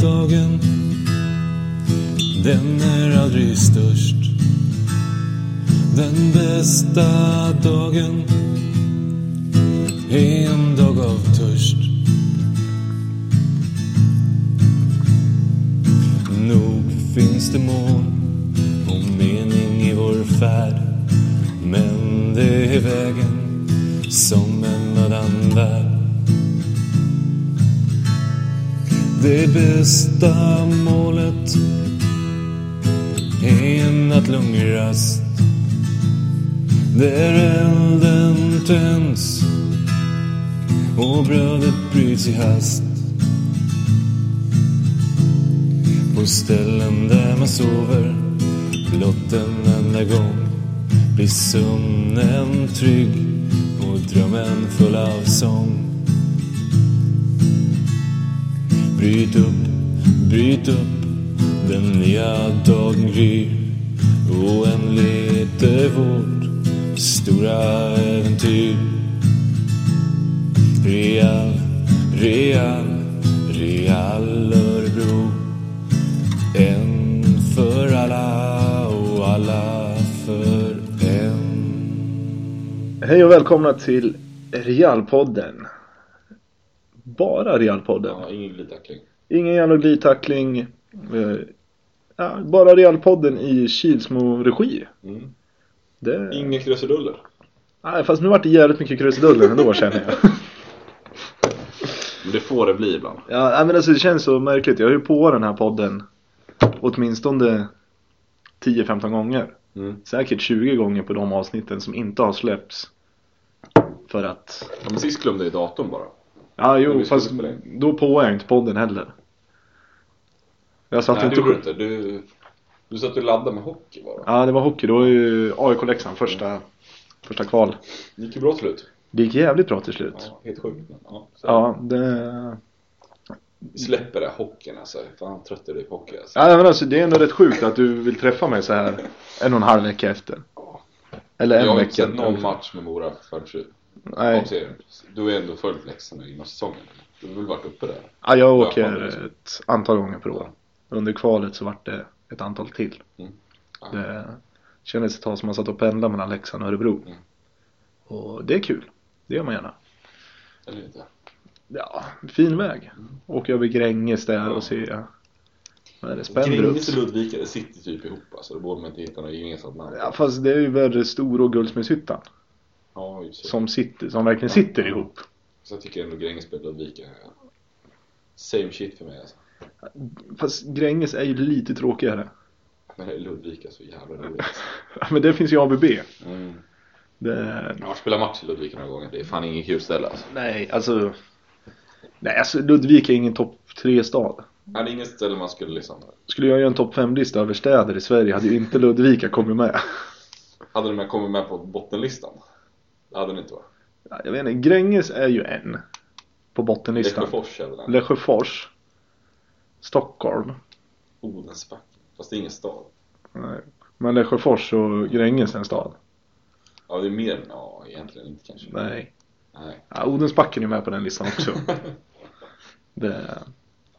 dagen den är aldrig störst. Den bästa dagen är en dag av törst. Nog finns det mål och mening i vår färd. Men det är vägen som en mödan värd. Det bästa målet är en nattlugn rast där elden tänds och brödet bryts i hast. På ställen där man sover blott en enda gång blir sömnen trygg och drömmen full av sång. Bryt upp, bryt upp, den nya dagen gryr. Oändligt är vårt stora äventyr. Real, Real, Real Örebro. En för alla och alla för en. Hej och välkomna till Realpodden. Bara Realpodden. Ja, ingen glidtackling. Ingen jävla glidtackling. Eh, ja, bara Realpodden i Kilsmo-regi. Mm. Det... Ingen krusiduller. Nej, fast nu vart det jävligt mycket krusiduller ändå känner jag. Men det får det bli ibland. Ja, nej, men alltså det känns så märkligt. Jag har ju på den här podden åtminstone 10-15 gånger. Mm. Säkert 20 gånger på de avsnitten som inte har släppts. För att... Ja, men sist glömde jag datorn bara. Ja, Men jo, vi skulle fast spela in. då påar jag inte podden heller. Jag satt Nej, det inte gjorde du och... inte. Du, du satt och laddade med hockey bara. Ja, det var hockey. Det var ju AIK-Leksand, första, första kval. Det gick ju bra till slut. Det gick jävligt bra till slut. Ja, helt sjukt. men Ja, så. Ja, det... Släpper det här hockeyn alltså. Fan, trött är du på hockey alltså. Ja, men alltså det är ändå rätt sjukt att du vill träffa mig så här en och en halv vecka efter. Eller en Jag har inte vecka. sett någon match med Mora förrän av Nej, serien. Du har ju ändå följt Leksand inom säsongen. Du har väl varit uppe där? ja, jag Ja, åker fan, det är så. ett antal gånger per år. Under kvalet så vart det ett antal till. Mm. Ja. Det kändes ett tag som man satt och pendlade mellan Leksand och Örebro. Mm. Och det är kul. Det gör man gärna. Eller inte? Ja, fin väg. Åker över Gränges där Ja. och ser... Vad är det? Gränges Spendrups? och Ludvika det sitter typ ihop alltså. Då borde man inte hitta något gemensamt namn. Ja, fast det är ju värre Stor och Guldsmedshyttan. Ja, just det. Som, sitter, som verkligen sitter ihop. Så jag tycker ändå Gränges blev Ludvika. ja. Same shit för mig alltså. Fast Gränges är ju lite tråkigare. Men Ludvika är så jävla roligt. alltså. Ja, Men det finns ju ABB. Mm. Det... Jag har spelat match i Ludvika några gånger. Det är fan ingen kul ställe alltså. Nej, alltså... Nej, alltså Ludvika är ingen topp 3-stad. Nej, det är inget ställe man skulle liksom... Skulle jag göra en topp 5-lista över städer i Sverige hade ju inte Ludvika kommit med. Hade de här kommit med på bottenlistan? Det hade det inte varit. Ja, Jag vet inte, Gränges är ju en. På bottenlistan. Lesjöfors är väl den? Lesjöfors. Stockholm. Odensbacken. Fast det är ingen stad. Nej. Men Lesjöfors och Gränges är en stad. Ja, det är mer... Ja, egentligen inte kanske. Nej. Nej. Ja, Odensbacken är med på den listan också. det...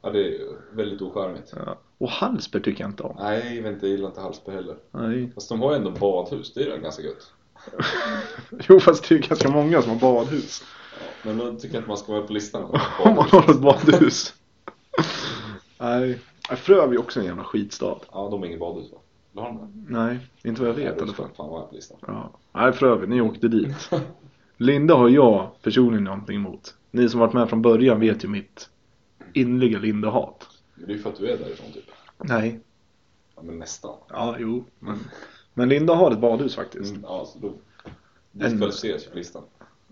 Ja, det är ju väldigt ocharmigt. ja. Och Hallsberg tycker jag inte om. Nej, jag vet inte. Jag gillar inte Hallsberg heller. Nej. Fast de har ju ändå badhus. Det är ju ganska gött. Jo, fast det är ju ganska många som har badhus. Men då tycker jag att man ska vara på listan. Om man har ett badhus. Nej. Frövi är också en jävla skitstad. Ja, de har inget badhus va? Eller har de det? Nej, inte vad jag vet i alla fall. Fan vad jag är på listan. Ja. Nej, Frövi, ni åkte dit. Linda har jag personligen någonting emot. Ni som varit med från början vet ju mitt innerliga Linda-hat. Men det är ju för att du är därifrån typ. Nej. Ja, men nästan. Ja, jo. Men, men Linda har ett badhus faktiskt. Mm, ja, så då diskvalificeras ju på listan.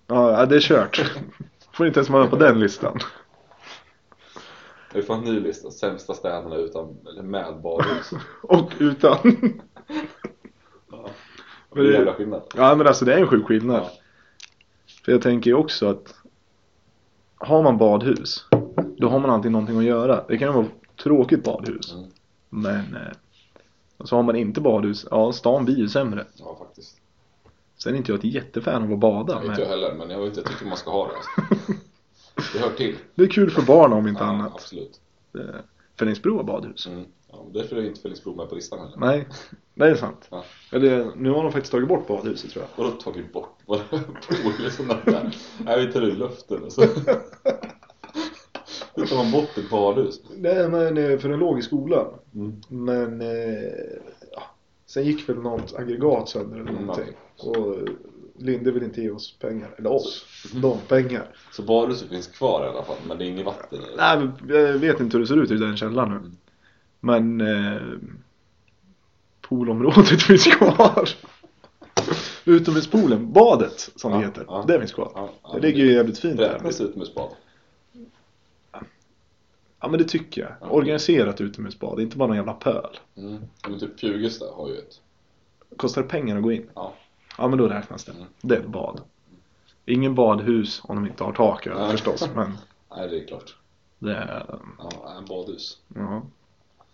Ja, ja, det är kört. Får inte ens vara med på den listan. Vi får en ny lista. Sämsta städerna utan, eller med badhus. Och utan. Det är en jävla skillnad. Ja, men alltså det är en sjuk skillnad. Ja. För jag tänker ju också att har man badhus, då har man alltid någonting att göra. Det kan ju vara ett tråkigt badhus. Mm. Men eh, och så har man inte badhus, ja stan blir ju sämre. Ja, faktiskt. Sen är inte jag ett jättefan av att bada. Inte jag Men heller, men jag, vet, jag tycker man ska ha det. Alltså. Det hör till. det är kul för barn om inte Ja, annat. Eh, Absolut. Det- Fellingsbro har badhus. Mm. Ja, men därför är inte Fellingsbro med på listan heller. Nej, det är sant. Ja. Eller nu har de faktiskt tagit bort badhuset tror jag. Vadå tagit bort? Vadå pool och sådana där? Nej, vi tar ur luften alltså. Hur tar man bort ett badhus? Nej men eh, för den låg i skolan. Mm. Men eh, ja. sen gick väl något aggregat sönder eller Mm. någonting. Och eh, Linde vill inte ge oss pengar. Eller oss. Mm. De pengar. Så badhuset finns kvar i alla fall, men det är inget vatten i det. Nej men jag vet inte hur det ser ut i den källan nu. Mm. Men eh, poolområdet finns kvar. Utomhuspoolen, badet som det Ja, heter. ja. Det finns kvar. Ja, ja, det ligger ju jävligt fint där. Räknas utomhusbad? Ja men det tycker jag. Ja. Organiserat utomhusbad, inte bara någon jävla pöl. Mm. Ja, Men typ Fjugesta har ju ett. Kostar det pengar att gå in? Ja. Ja men då räknas det. Mm. Det är ett bad. Ingen badhus om de inte har tak över Nej. förstås. Men Nej, det är klart. det är... Ja, en badhus. Ja.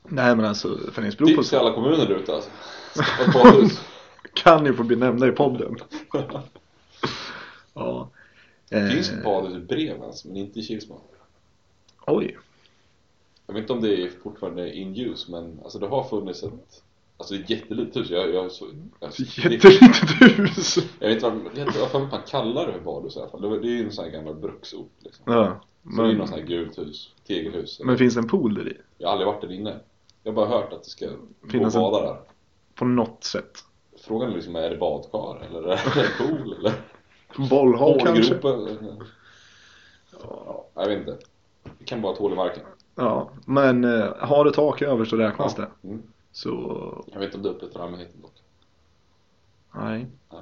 Nej men alltså Fenriksbro Tips till alla kommuner där ute alltså. Skaffa ett badhus. kan ju få bli nämnda i podden. ja. Det finns Eh, ett badhus i Brevens, men inte i Kilsmo. Oj. Jag vet inte om det är fortfarande in use, men alltså det har funnits ett Alltså det är ett jättelitet hus. Jag, jag, så, jag, Jättelitet hus. jag vet inte vad- jag vet inte varför man kallar det för badhus i alla fall. Det var- det är ju en sån här gammal bruksort liksom. Ja. Så det är ju Men, något sånt här gult hus, tegelhus. men finns det en pool där i? Jag har aldrig varit där inne. Jag har bara hört att det ska gå och Finnas en- bada där. På något sätt. Frågan är liksom, är det badkar eller är det pool eller? Bollhav kanske? Hålgropen? Ja, jag vet inte. Det kan vara ett hål i marken. Ja. Men eh, har det tak över så räknas det. Mm. Så Jag vet inte om det är öppet för allmänheten dock. Nej. Nej.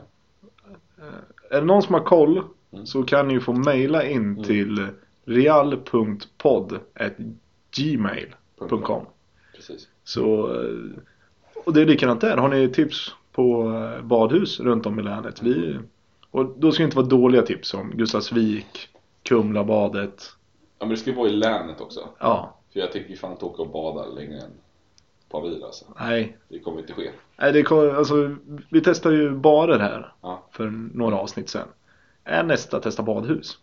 Eh, Är det någon som har koll Mm. så kan ni ju få mejla in till real.podd.gmail.com Mm. Precis. Så, eh, och det är likadant där. Har ni tips på eh, badhus runt om i länet? Vi, Mm. och då ska det inte vara dåliga tips som Gustavsvik, Kumlabadet. Ja men det ska ju vara i länet också. Ja, För jag tänker ju fan inte åka och bada längre än ett par mil alltså. nej. Det kommer inte ske. nej det kommer, alltså, vi testade ju barer här Ja. för några avsnitt sedan. Är nästa testa badhus?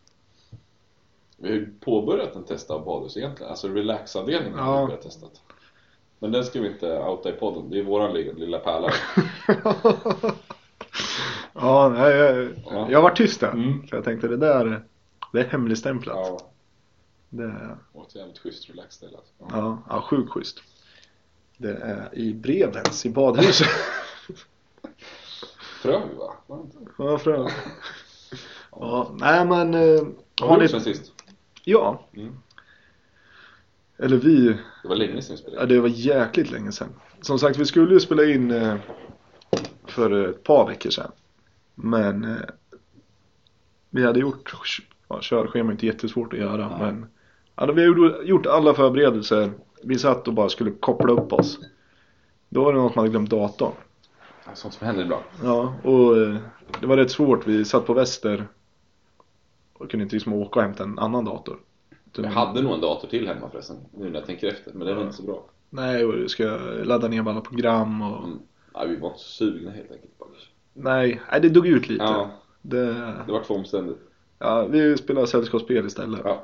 Vi har ju påbörjat en test av badhus egentligen. Alltså relaxavdelningen har Ja. vi börjat testat. Men den ska vi inte outa i podden. Det är våran lilla- lilla pärla. Ja, nej, jag, Ja. jag var tyst där. Mm. För jag tänkte det där, det är hemligstämplat. Ja. Det är, Och ett jävligt schysst relaxställe alltså. Ja. ja, ja, sjukt schysst. Det är i Brevens, i badhuset. Frövi va? Var det inte? ja, för, ja, nej men. eh, Har du ni, gjort sen sist? ja. Mm. Eller vi, Det var länge sedan vi ja, spelade. det var jäkligt länge sedan. Som sagt, vi skulle ju spela in eh, för ett par veckor sedan. Men eh, vi hade gjort, ja, körschema är inte jättesvårt att göra Nej. men hade vi gjorde- gjort alla förberedelser. Vi satt och bara skulle koppla upp oss. Då var det någon som hade glömt datorn. Sånt som händer ibland. Ja, och eh, det var rätt svårt. Vi satt på väster och kunde inte liksom åka och hämta en annan dator. Jag hade nog en dator till hemma förresten, nu när jag tänker efter. Men den var inte så bra. Nej, och du ska ladda ner alla program och... Mm. Nej, vi var inte så sugna helt enkelt. bara. Nej, nej, det dog ut lite. Ja, Det... det var för omständigt. Ja, vi spelar sällskapsspel istället. Ja.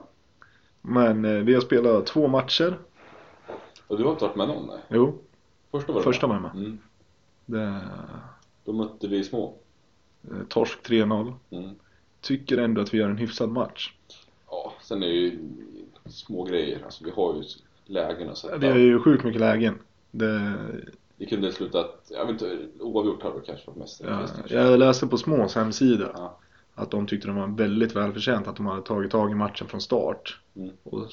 Men eh, vi har spelat två matcher. Och du har inte varit med någon? Nej. Jo, Första var du första med. var jag med. Mm. Det, Då mötte vi små. eh, torsk 3-0. Mm. Tycker ändå att vi gör en hyfsad match. Ja, sen är det ju små grejer. Alltså, vi har ju lägen och sånt Vi har där. ju sjukt mycket lägen. Det, Det kunde sluta att, jag vet inte, oavgjort hade det kanske varit mest ja, rättvist. jag läste på Smås hemsida Ja. att de tyckte det var väldigt välförtjänt att de hade tagit tag i matchen från start. Mm. Och,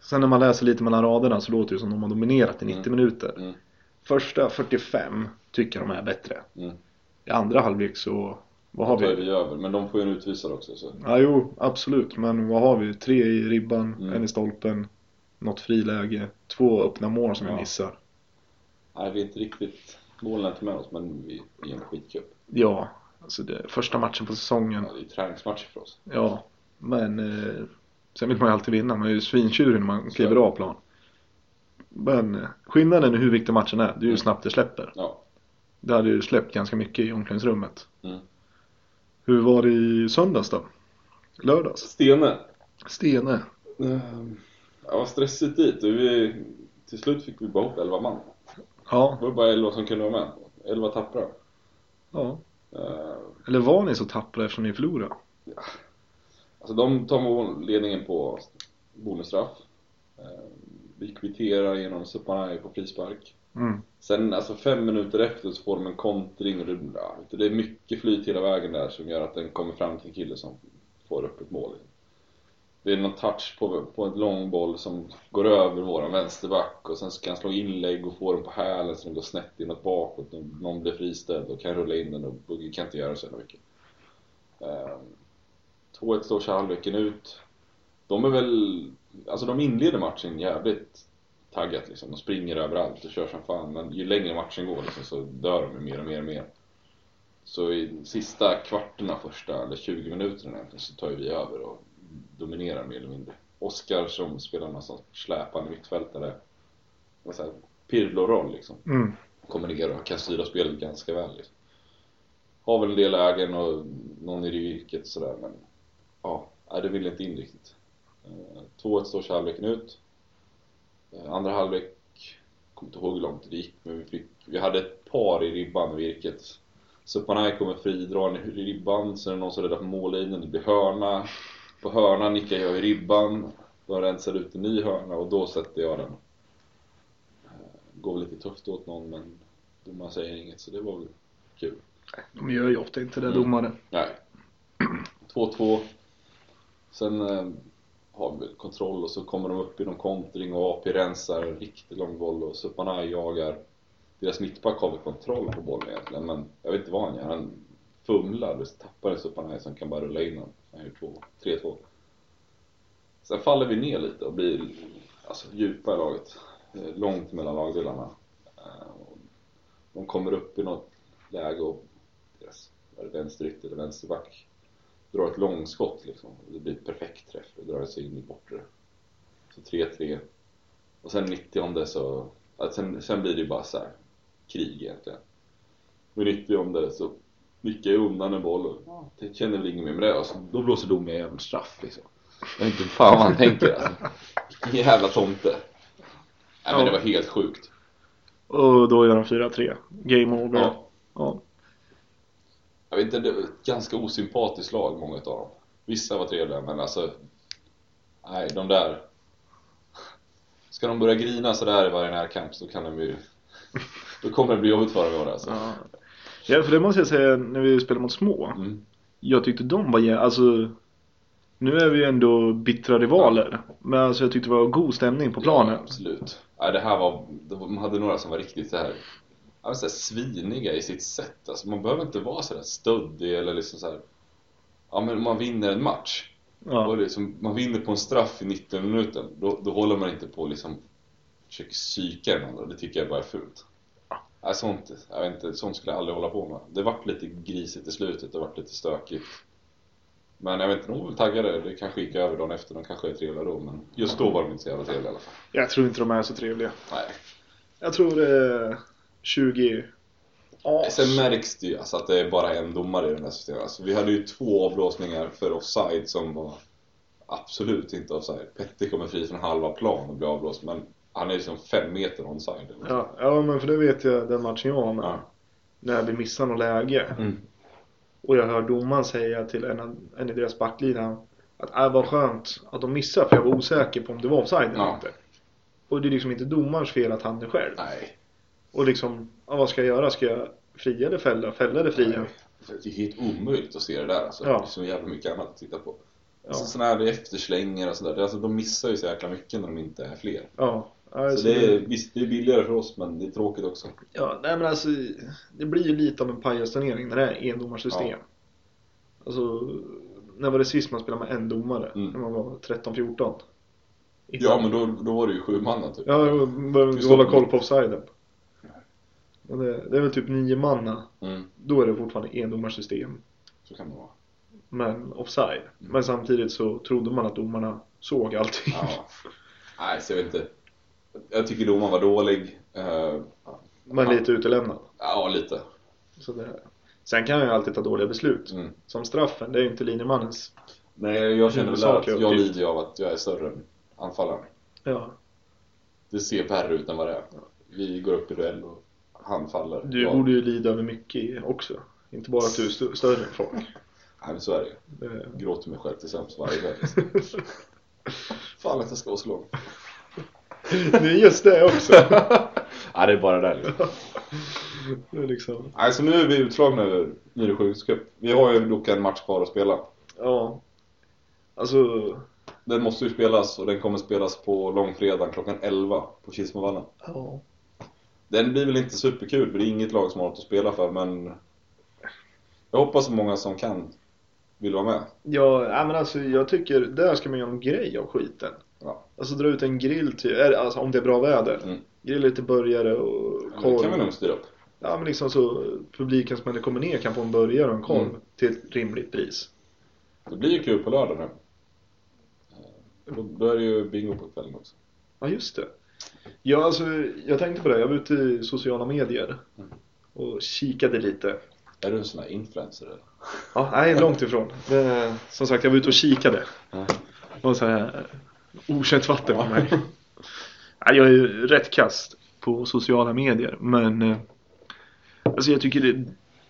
sen när man läser lite mellan raderna så låter det som de har dominerat i 90 Mm. minuter. Mm. Första 45 tycker de är bättre. Mm. I andra halvlek så, vad har Då vi? är vi över, men de får ju en utvisare också. Så. Ja, jo, absolut. Men vad har vi? Tre i ribban, Mm. en i stolpen, något friläge, två öppna mål som vi Ja. missar. Nej, vi är inte riktigt, målen är inte med oss, men vi är i en skitcup. Ja, alltså det, första matchen på säsongen. Ja, det är ju träningsmatcher för oss. Ja, men eh, sen vill man ju alltid vinna. Man är ju svintjurig när man kliver av plan. Men eh, skillnaden i hur viktig matchen är, det är ju hur Mm. snabbt det släpper. Ja. Det hade ju släppt ganska mycket i omklädningsrummet. Mm. Hur var det i söndags då? Lördags? Stene. Stene. Ehm, det var stressigt dit. och Vi, till slut fick vi bara ihop 11 man. Ja, Det var bara 11 som kunde vara med. 11 tappra. ja. Eh, Eller var ni så tappra eftersom ni förlorade? Alltså de tar ledningen på bonusstraff. Eh, Vi kvitterar genom Supanai på frispark. Mm. Sen alltså fem minuter efter så får de en kontring och det, ja, vet du, det är mycket flyt hela vägen där som gör att den kommer fram till en kille som får upp ett mål. Det är någon touch på, på en lång boll som går över våran vänsterback och sen ska han slå inlägg och få den på hälen så den går snett inåt bakåt och någon blir friställd och kan rulla in den och Bugge kan inte göra så jävla mycket. Ehm, 2-1 står så halvleken ut. De är väl, alltså de inleder matchen jävligt taggat liksom. De springer överallt och kör som fan. Men ju längre matchen går liksom, så dör de ju mer och mer och mer. Så i sista kvarten av första, eller 20 minuterna egentligen, så tar ju vi över och dominerar mer eller mindre. Oskar som spelar någon sorts släpande mittfältare, vad säger jag, Pirlo-roll liksom Mm. kommer ner och kan styra spelet ganska väl. Liksom. Har väl en del lägen och någon i ryket sådär men ja, nej, det vill inte in riktigt. Eh, 2-1 står så halvleken ut. Eh, Andra halvlek, kommer inte ihåg hur långt det gick men vi, fick, vi hade ett par i ribban vid virket. Supanai kommer fri, drar ner i ribban, sen är det någon som räddar på mållinjen, det blir hörna. På hörnan nickar jag i ribban, de rensar ut en ny hörna och då sätter jag den går väl lite tufft åt någon men domaren säger inget så det var väl kul. De gör ju ofta inte det, Mm. domare. Nej. 2-2. Sen eh, har vi väl kontroll och så kommer de upp i någon kontring och AP rensar en riktigt lång boll och Supanai jagar. Deras mittback har väl kontroll på bollen egentligen men jag vet inte vad han gör. Han fumlar och tappar en Supanai som kan bara rulla in honom. Han gör två- 3-2. Sen faller vi ner lite och blir alltså, djupa i laget. Eh, Långt mellan lagdelarna. Eh, och De kommer upp i något läge och deras var det vänsterytter eller vänsterback drar ett långskott liksom. Och Det blir ett perfekt träff. Det drar sig in i bortre. Så 3-3. Och sen 90 så... Att sen, sen blir det ju bara så här krig egentligen. Och 90 det så nickar jag undan en boll och det känner väl ingen mer med det. Och så, då blåser domaren jävla straff liksom. Jag vet inte fan vad han tänker alltså. Vilken jävla tomte. Nej men det var helt sjukt. Och då gör de 4-3. Game over. Ja. Ja. Jag vet inte, det var ett ganska osympatiskt lag många av dem. Vissa var trevliga men alltså... Nej, de där... Ska de börja grina sådär i varje närkamp så kan de ju... Då kommer det bli jobbigt för dem i år alltså. Ja. ja, för det måste jag säga när vi spelade mot små. Mm. Jag tyckte de var jä- alltså Nu är vi ju ändå bittra rivaler Men alltså jag tyckte det var god stämning på Ja, planen absolut. Nej, det här var... De hade några som var riktigt så här... ja, men Så här sviniga i sitt sätt. Alltså, man behöver inte vara sådär stöddig eller liksom så här... Ja, men om man vinner en match. Och Ja, liksom, man vinner på en straff i 90 minuten, då, då håller man inte på och liksom försöker psyka den andra. Det tycker jag bara är fult. Nej, sånt, jag vet inte, sånt skulle jag aldrig hålla på med. Det vart lite grisigt i slutet, det vart lite stökigt. Men jag vet inte, de var väl taggade. Det kanske gick över dagen efter, de kanske är trevliga då. Men just då var de inte så jävla trevliga i alla fall. jag tror inte de är så trevliga Nej. Jag tror det är 20 as. Sen märks det ju alltså att det är bara en domare i den här systemet. Alltså, vi hade ju två avblåsningar för offside som var absolut inte offside. Petter kommer fri från halva plan och blir avblåst men han är ju som fem meter onside. eller ja, ja men för det vet jag den matchen jag var med Ja. När vi missar något läge Mm. Och jag hör domaren säga till en, av- en i deras backlina Att äh, vad skönt att de missar för jag var osäker på om det var offside eller Ja. inte Och det är liksom inte domarens fel att han är själv Nej. Och liksom, ja, vad ska jag göra? Ska jag fria eller fälla? Fälla eller fria? Det är helt omöjligt att se det där alltså. Ja. Det är så jävla mycket annat att titta på. Ja. Alltså, sådana här efterslänger och sådär. Alltså, de missar ju så jäkla mycket när de inte är fler. Ja, Så alltså, det är, visst, det är billigare för oss men det är tråkigt också. ja nej, men alltså, det blir ju lite av en pajasturnering när det är endomarsystem. Ja. Alltså, när var det sist man spelade med en domare? Mm. När man var 13-14? Ja men då, då var det ju sju man typ. Ja, då behöver vi Just hålla det. koll på offsiden. Men det, det är väl typ nio manna. Mm, Då är det fortfarande endomarsystem. så kan det vara. Men offside. Men samtidigt så trodde man att domarna såg allting. Ja. Nej, så jag vet inte. Jag tycker domaren var dålig. Eh, Men lite utelämnad. ja, lite. Så det... Sen kan jag ju alltid ta dåliga beslut. Mm. Som straffen, det är ju inte linjemannens. Nej, jag känner väl Huvudsaklig att jag uppgift. lider ju av att jag är större än anfallaren. Ja. Det ser värre ut än vad det är. Vi går upp i duell och han faller. Du Ja, borde ju lida över mycket i- också. Inte bara att du är stö- större än folk. Nej men så är det ju. Eh, Gråter mig själv till sömns varje kväll. Fan att jag ska vara så lång. Det är just det också. Nej det är bara det. liksom. Det är liksom. Nej så nu är vi utslagna ur Myresjöhus cup. Vi har ju dock en match kvar att spela. Ja. Alltså, Den måste ju spelas och den kommer spelas på långfredagen klockan 11 på Kilsmovallen. ja. Den blir väl inte superkul för det är inget lag som har något att spela för men jag hoppas så många som kan vill vara med. Ja, nej, men alltså jag tycker där ska man göra en grej av skiten. Ja. Alltså dra ut en grill till, är- alltså om det är bra väder. Mm. Grilla lite burgare och Det kan vi korv. nog styra upp. Ja men liksom så publiken som ändå kommer ner kan få en burgare och en korv Mm. till ett rimligt pris. Det blir ju kul på lördag nu. Eh, Då, då är det ju bingo på kvällen också. Ja just det. Ja, alltså, jag tänkte på det, jag var ute i sociala medier Mm. och kikade lite. Är du en sån här influencer eller? Ja, nej, långt ifrån. Det, som sagt, jag var ute och kikade. Ja. Det var så här eh, okänt vatten för mig. Nej, jag är ju rätt kast på sociala medier, men eh, alltså, jag tycker det är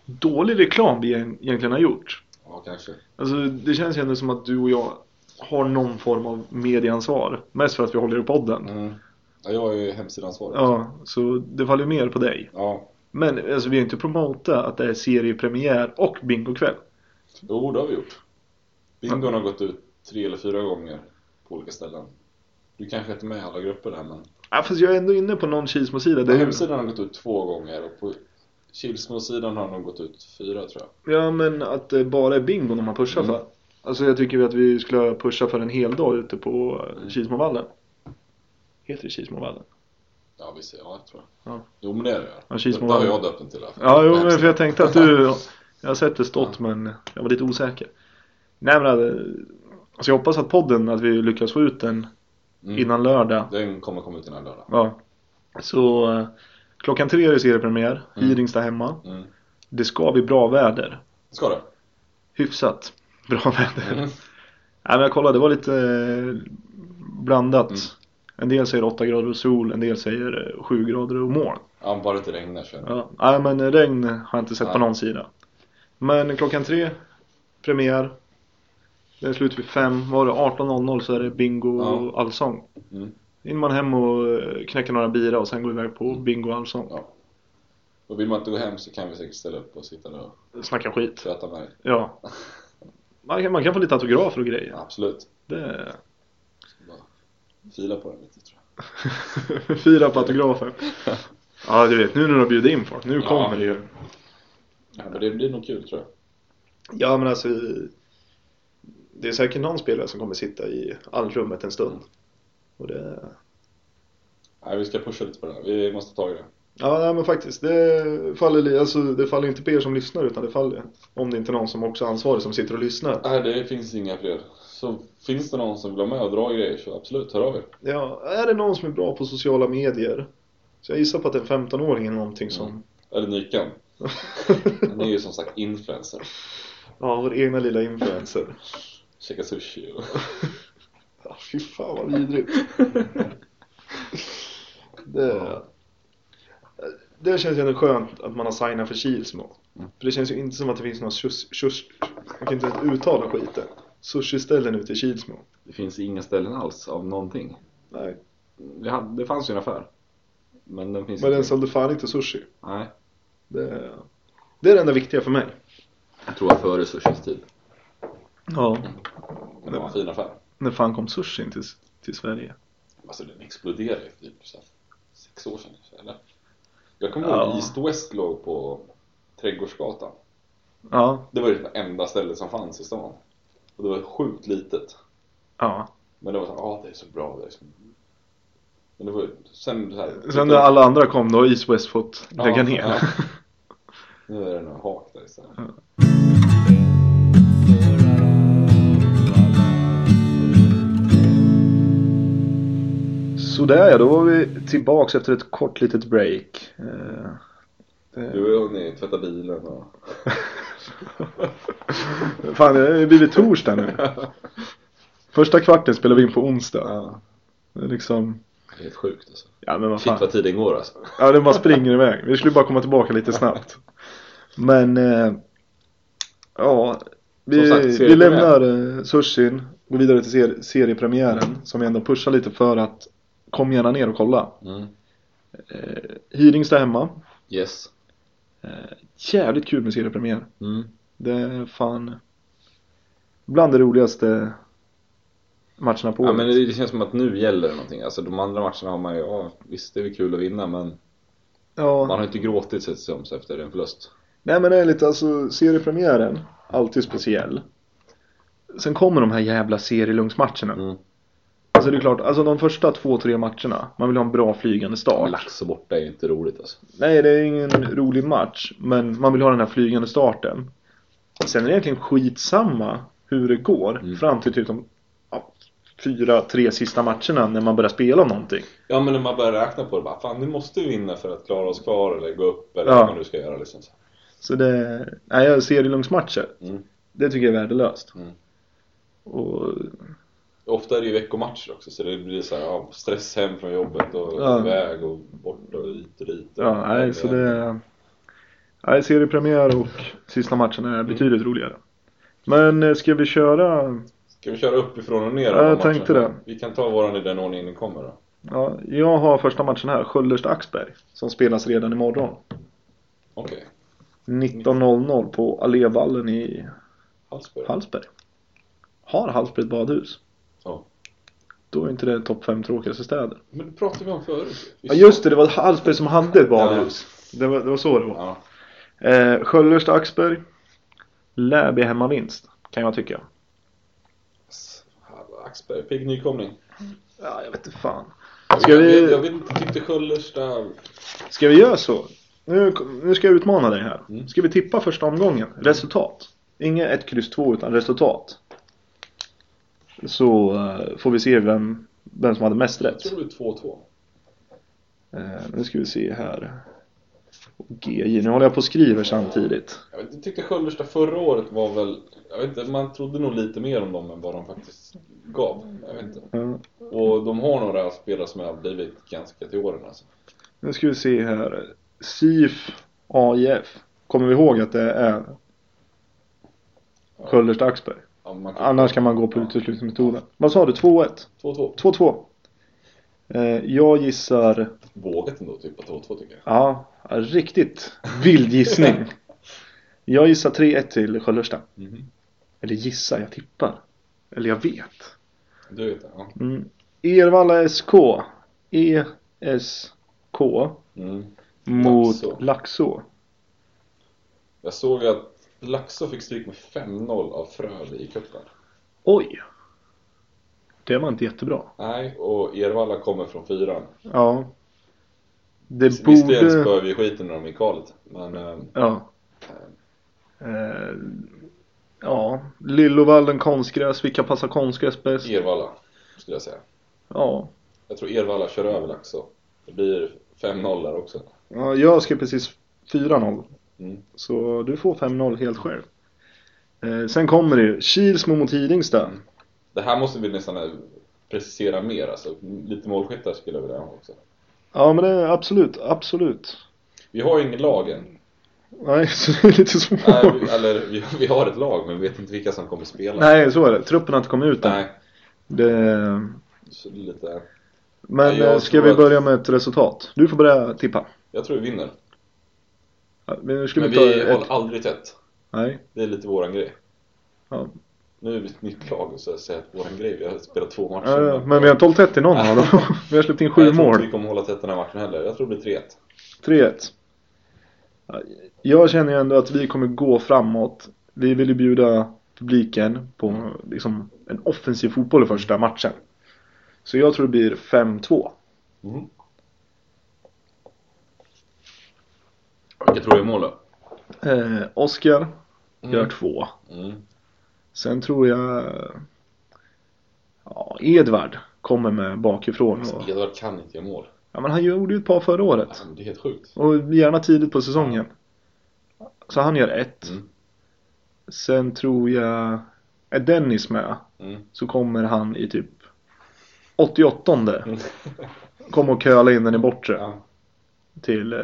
dålig reklam vi egent- egentligen har gjort. Ja, kanske. Alltså, det känns ju ändå som att du och jag har någon form av medieansvar. Mest för att vi håller i podden. Mm. Ja, jag är ju hemsidansvarig. Ja, så det faller ju mer på dig. ja. Men alltså, vi har inte promotat att det är seriepremiär och bingokväll. Jo, det har vi gjort. Bingon har gått ut tre eller fyra gånger på olika ställen. Du kanske inte är med i alla grupper där men Ja, fast jag är ändå inne på någon Kilsmo-sida. På Det är... hemsidan har den gått ut två gånger och på Kilsmo-sidan har den gått ut fyra tror jag. Ja, men att det bara är bingo när man pushar Mm. för. Alltså jag tycker att vi skulle pusha för en hel dag ute på eh, Kilsmovallen. Heter det Kilsmovallen? Ja, vi ser, ja, jag tror jag. Ja. Jo, men det är det. Ja, det, det har Kilsmovallen. jag döpt den till. i alla fall. Ja, jo, På men för hemsidan. jag tänkte att du... Jag har sett det stått, men jag var lite osäker. Nej, men eh, alltså, jag hoppas att podden, att vi lyckas få ut den Mm. innan lördag. Den kommer komma ut innan lördag. Ja. Så eh, klockan tre är det seriepremiär. Mm. Hidingstad hemma. Mm. Det ska bli bra väder. Ska det? Hyfsat bra väder. Mm. Nej men jag kollade, det var lite eh, blandat. Mm. En del säger 8 grader och sol, en del säger eh, 7 grader och moln. Ja, bara det inte regnar så. Ja. Ja. Nej men eh, regn har jag inte sett på Nej. någon sida. Men klockan tre, premiär. Den är slut vid fem. Var det 18.00 så är det bingo Ja. och allsång. Mm. In man hem och eh, knäcker några bira och sen går iväg Mm. på bingo och allsång. Och vill man inte gå hem så kan vi säkert ställa upp och sitta där och Snacka skit. tvätta med dig. Ja. Man kan, man kan få lite autografer och grejer. Ja, absolut. Det... Bara fila på den lite tror jag. Fyra på autografer. Ja, du vet, nu när de bjuder in folk, nu Ja. kommer det ju. Ja, men det blir nog kul tror jag. Ja, men alltså. Det är säkert någon spelare som kommer sitta i allrummet en stund. Och det... Nej, vi ska pusha lite på det här. Vi måste ta tag i det. Ja, nej, men faktiskt. Det faller, li- alltså, det faller inte på er som lyssnar, utan det faller om det inte är någon som också är ansvarig som sitter och lyssnar. Nej, det finns inga fler. Så finns det någon som vill vara med och dra grejer så absolut, hör av er. Ja, är det någon som är bra på sociala medier? Så jag gissar på att det är en 15-åring eller någonting som... Eller Nykan. Han är ju som sagt influencer. ja, vår egna lilla influencer. Käkar sushi och... Ja, fy fan vad vidrigt. det, det känns ju ändå skönt att man har signat för Kilsmo. För det känns ju inte som att det finns några tjus, tjus, jag kan inte ens uttala skiten. Sushi-ställen ute i Kilsmo. Det finns inga ställen alls av någonting. Nej, Det, hade, det fanns ju en affär. Men den finns men den inte. sålde fan inte sushi. Nej. Det, det är det enda viktiga för mig. Jag tror att före sushis typ. tid. Ja, Men det var en fin affär. när fan kom sushin till, till Sverige? Alltså den exploderade ju för typ så här sex år sedan kanske, eller? Jag kommer Ja. ihåg East West låg på Trädgårdsgatan. Ja, Det var ju det enda stället som fanns i stan. Och det var sjukt litet. ja. Men det var såhär, ja ah, det är så bra, det är så... Men det var ju, sen såhär... Sen när alla andra kom då har East West fått Ja, lägga ner. ja. Nu är det några hak där istället. Sådär ja, då var vi tillbaks efter ett kort litet break. Eh, Du har ju hunnit tvätta bilen och... Fan, det har ju blivit torsdag nu. Första kvarten spelar vi in på onsdag. Det är Liksom, Det är helt sjukt alltså. ja men vad Shit fan. vad tiden går alltså. Ja, den bara springer iväg. Vi skulle bara komma tillbaka lite snabbt. Men, eh, ja. Som Vi, sagt, vi seriepremiär. lämnar eh, sushin, går vidare till ser- seriepremiären som vi ändå pushar lite för att kom gärna ner och kolla. Mm. Eh, Hearings där hemma. Yes. Jävligt kul med seriepremiär. Mm. Det är fan bland det roligaste matcherna på Ja, året. men det det känns som att nu gäller det någonting. Alltså de andra matcherna har man ju, ja visst det är väl kul att vinna men man ja. har ju inte gråtit sig som sig efter en förlust. Nej men ärligt alltså seriepremiären, alltid speciell. Sen kommer de här jävla serielungsmatcherna. Mm. Alltså det är klart, alltså de första två, tre matcherna, man vill ha en bra flygande start. Lax och borta är ju inte roligt alltså. Nej det är ingen rolig match, men man vill ha den här flygande starten. Sen är det egentligen skitsamma hur det går Mm. fram till typ de ja, fyra, tre sista matcherna när man börjar spela om någonting. Ja men när man börjar räkna på det bara, fan nu måste vi vinna för att klara oss kvar eller gå upp eller Ja. vad man nu ska göra liksom. så. Så det, nej jag ser i lungsmatcher. Mm. Det tycker jag är värdelöst. Mm. Och, Ofta är det ju veckomatcher också så det blir så här, ja, stress hem från jobbet och Ja. iväg och bort och hit och dit. eh, ja, nej så det, nej seriepremiär och sista matchen är betydligt roligare. Men eh, ska vi köra, Ska vi köra uppifrån och ner? Ja, alla jag matcherna? tänkte det. Vi kan ta våran i den ordningen den kommer då. ja, jag har första matchen här, Sköllersta-Axberg, som spelas redan imorgon. Okej, 19.00 på Allévallen i Hallsberg. Hallsberg. Har Hallsberg ett badhus? Ja. Då är inte det topp fem tråkigaste städer. Men det pratade vi om förut. Ja just det, det var Hallsberg som hade ett badhus. Det, var, det var så det var. Ja. Eh, Sköllersta Axberg. Läby hemmavinst, kan jag tycka. S- Hallå, Axberg, pigg nykomling. Ja, jag vet inte fan. Ska Jag vet, jag vi, vet inte, tyckte Sköllersta... ska vi göra så? Nu, nu ska jag utmana dig här. Mm. Ska vi tippa första omgången? Resultat. Inget 1, kryss 2 utan resultat. Så eh, får vi se vem, vem som hade mest Jag rätt. tror det är 2-2. Eh, nu ska vi se här. GJ, nu håller jag på och skriver samtidigt. Jag vet, inte, jag tyckte Sköllersta förra året var väl... Jag vet inte, man trodde nog lite mer om dem än vad de faktiskt gav. Jag vet inte. Ja, Och de har några spelare som har blivit ganska till åren alltså. nu ska vi se här. SIF AIF. Kommer vi ihåg att det är Sköllersta Axberg? Ja, man kan... Annars kan man gå på uteslutningsmetoden. Vad sa du? 2-1? 2-2. 2-2? Eh, jag gissar... Vågat ändå typ på 2-2 tycker jag. Ja, riktigt vild gissning. Jag gissar 3-1 till Sköllersta. Mhm. Eller gissar, jag tippar. Eller jag vet. Du vet det, ja. Mm. Ervalla SK. E ESK Mm. mot Laxå. Laxå. Jag såg att Laxå fick stryk med 5-0 av Frövi i cupen. Oj! Det var inte jättebra. Nej, och Ervalla kommer från fyran. Ja. Det Visserligen borde... spöade vi skiten när de gick kvalet, men eh, Ja. Eh, ja, Lillovallen konstgräs, vilka passar konstgräs bäst? Ervalla skulle jag säga. Ja. Jag tror Ervalla kör över Laxå. Det blir 5-0 där också. ja, jag skrev precis 4-0. Mm. Så du får 5-0 helt själv. Eh, sen kommer det ju Kilsmo mot Hidingstad. Det här måste vi nästan eh, precisera mer, alltså lite målskyttar skulle jag vilja ha också. Ja men det är absolut, absolut. Vi har ju inget lag än. Nej, så det är lite svårt. Nej, vi, eller vi, vi har ett lag, men vi vet inte vilka som kommer spela. Nej, så är det. Truppen har inte kommit ut än. Nej. Det... Så det är lite... Men Nej, jag eh, ska tror vi att- börja med ett resultat? Du får börja tippa. Jag tror vi vinner. Ja, Men nu ska Men vi ta vi ett... håller aldrig tätt. Nej. Det är lite våran grej. Ja. Nu är vi ett nytt lag och så jag säger att våran grej, vi har spelat två matcher. Ja, men vi har inte hållit tätt i någon av dem. Vi har släppt in sju jag tror inte mål. vi kommer hålla tätt den här matchen heller. Jag tror det blir 3-1. 3-1. Ja, Jag känner ju ändå att vi kommer gå framåt. Vi vill ju bjuda publiken på liksom, en offensiv fotboll i första matchen. Så jag tror det blir 5-2. Mm. Vilka tror jag är mål då? Eh, Oskar gör Mm. 2. Mm. Sen tror jag... Ja, Edvard kommer med bakifrån. Och, Edvard kan inte göra mål. ja, men han gjorde ju ett par förra året. Alltså, det är helt sjukt. Och gärna tidigt på säsongen. Så han gör ett. Mm. Sen tror jag... Är Dennis med Mm. så kommer han i typ 88 kom och köla in den i bortre. Mm. Ja. Till, eh,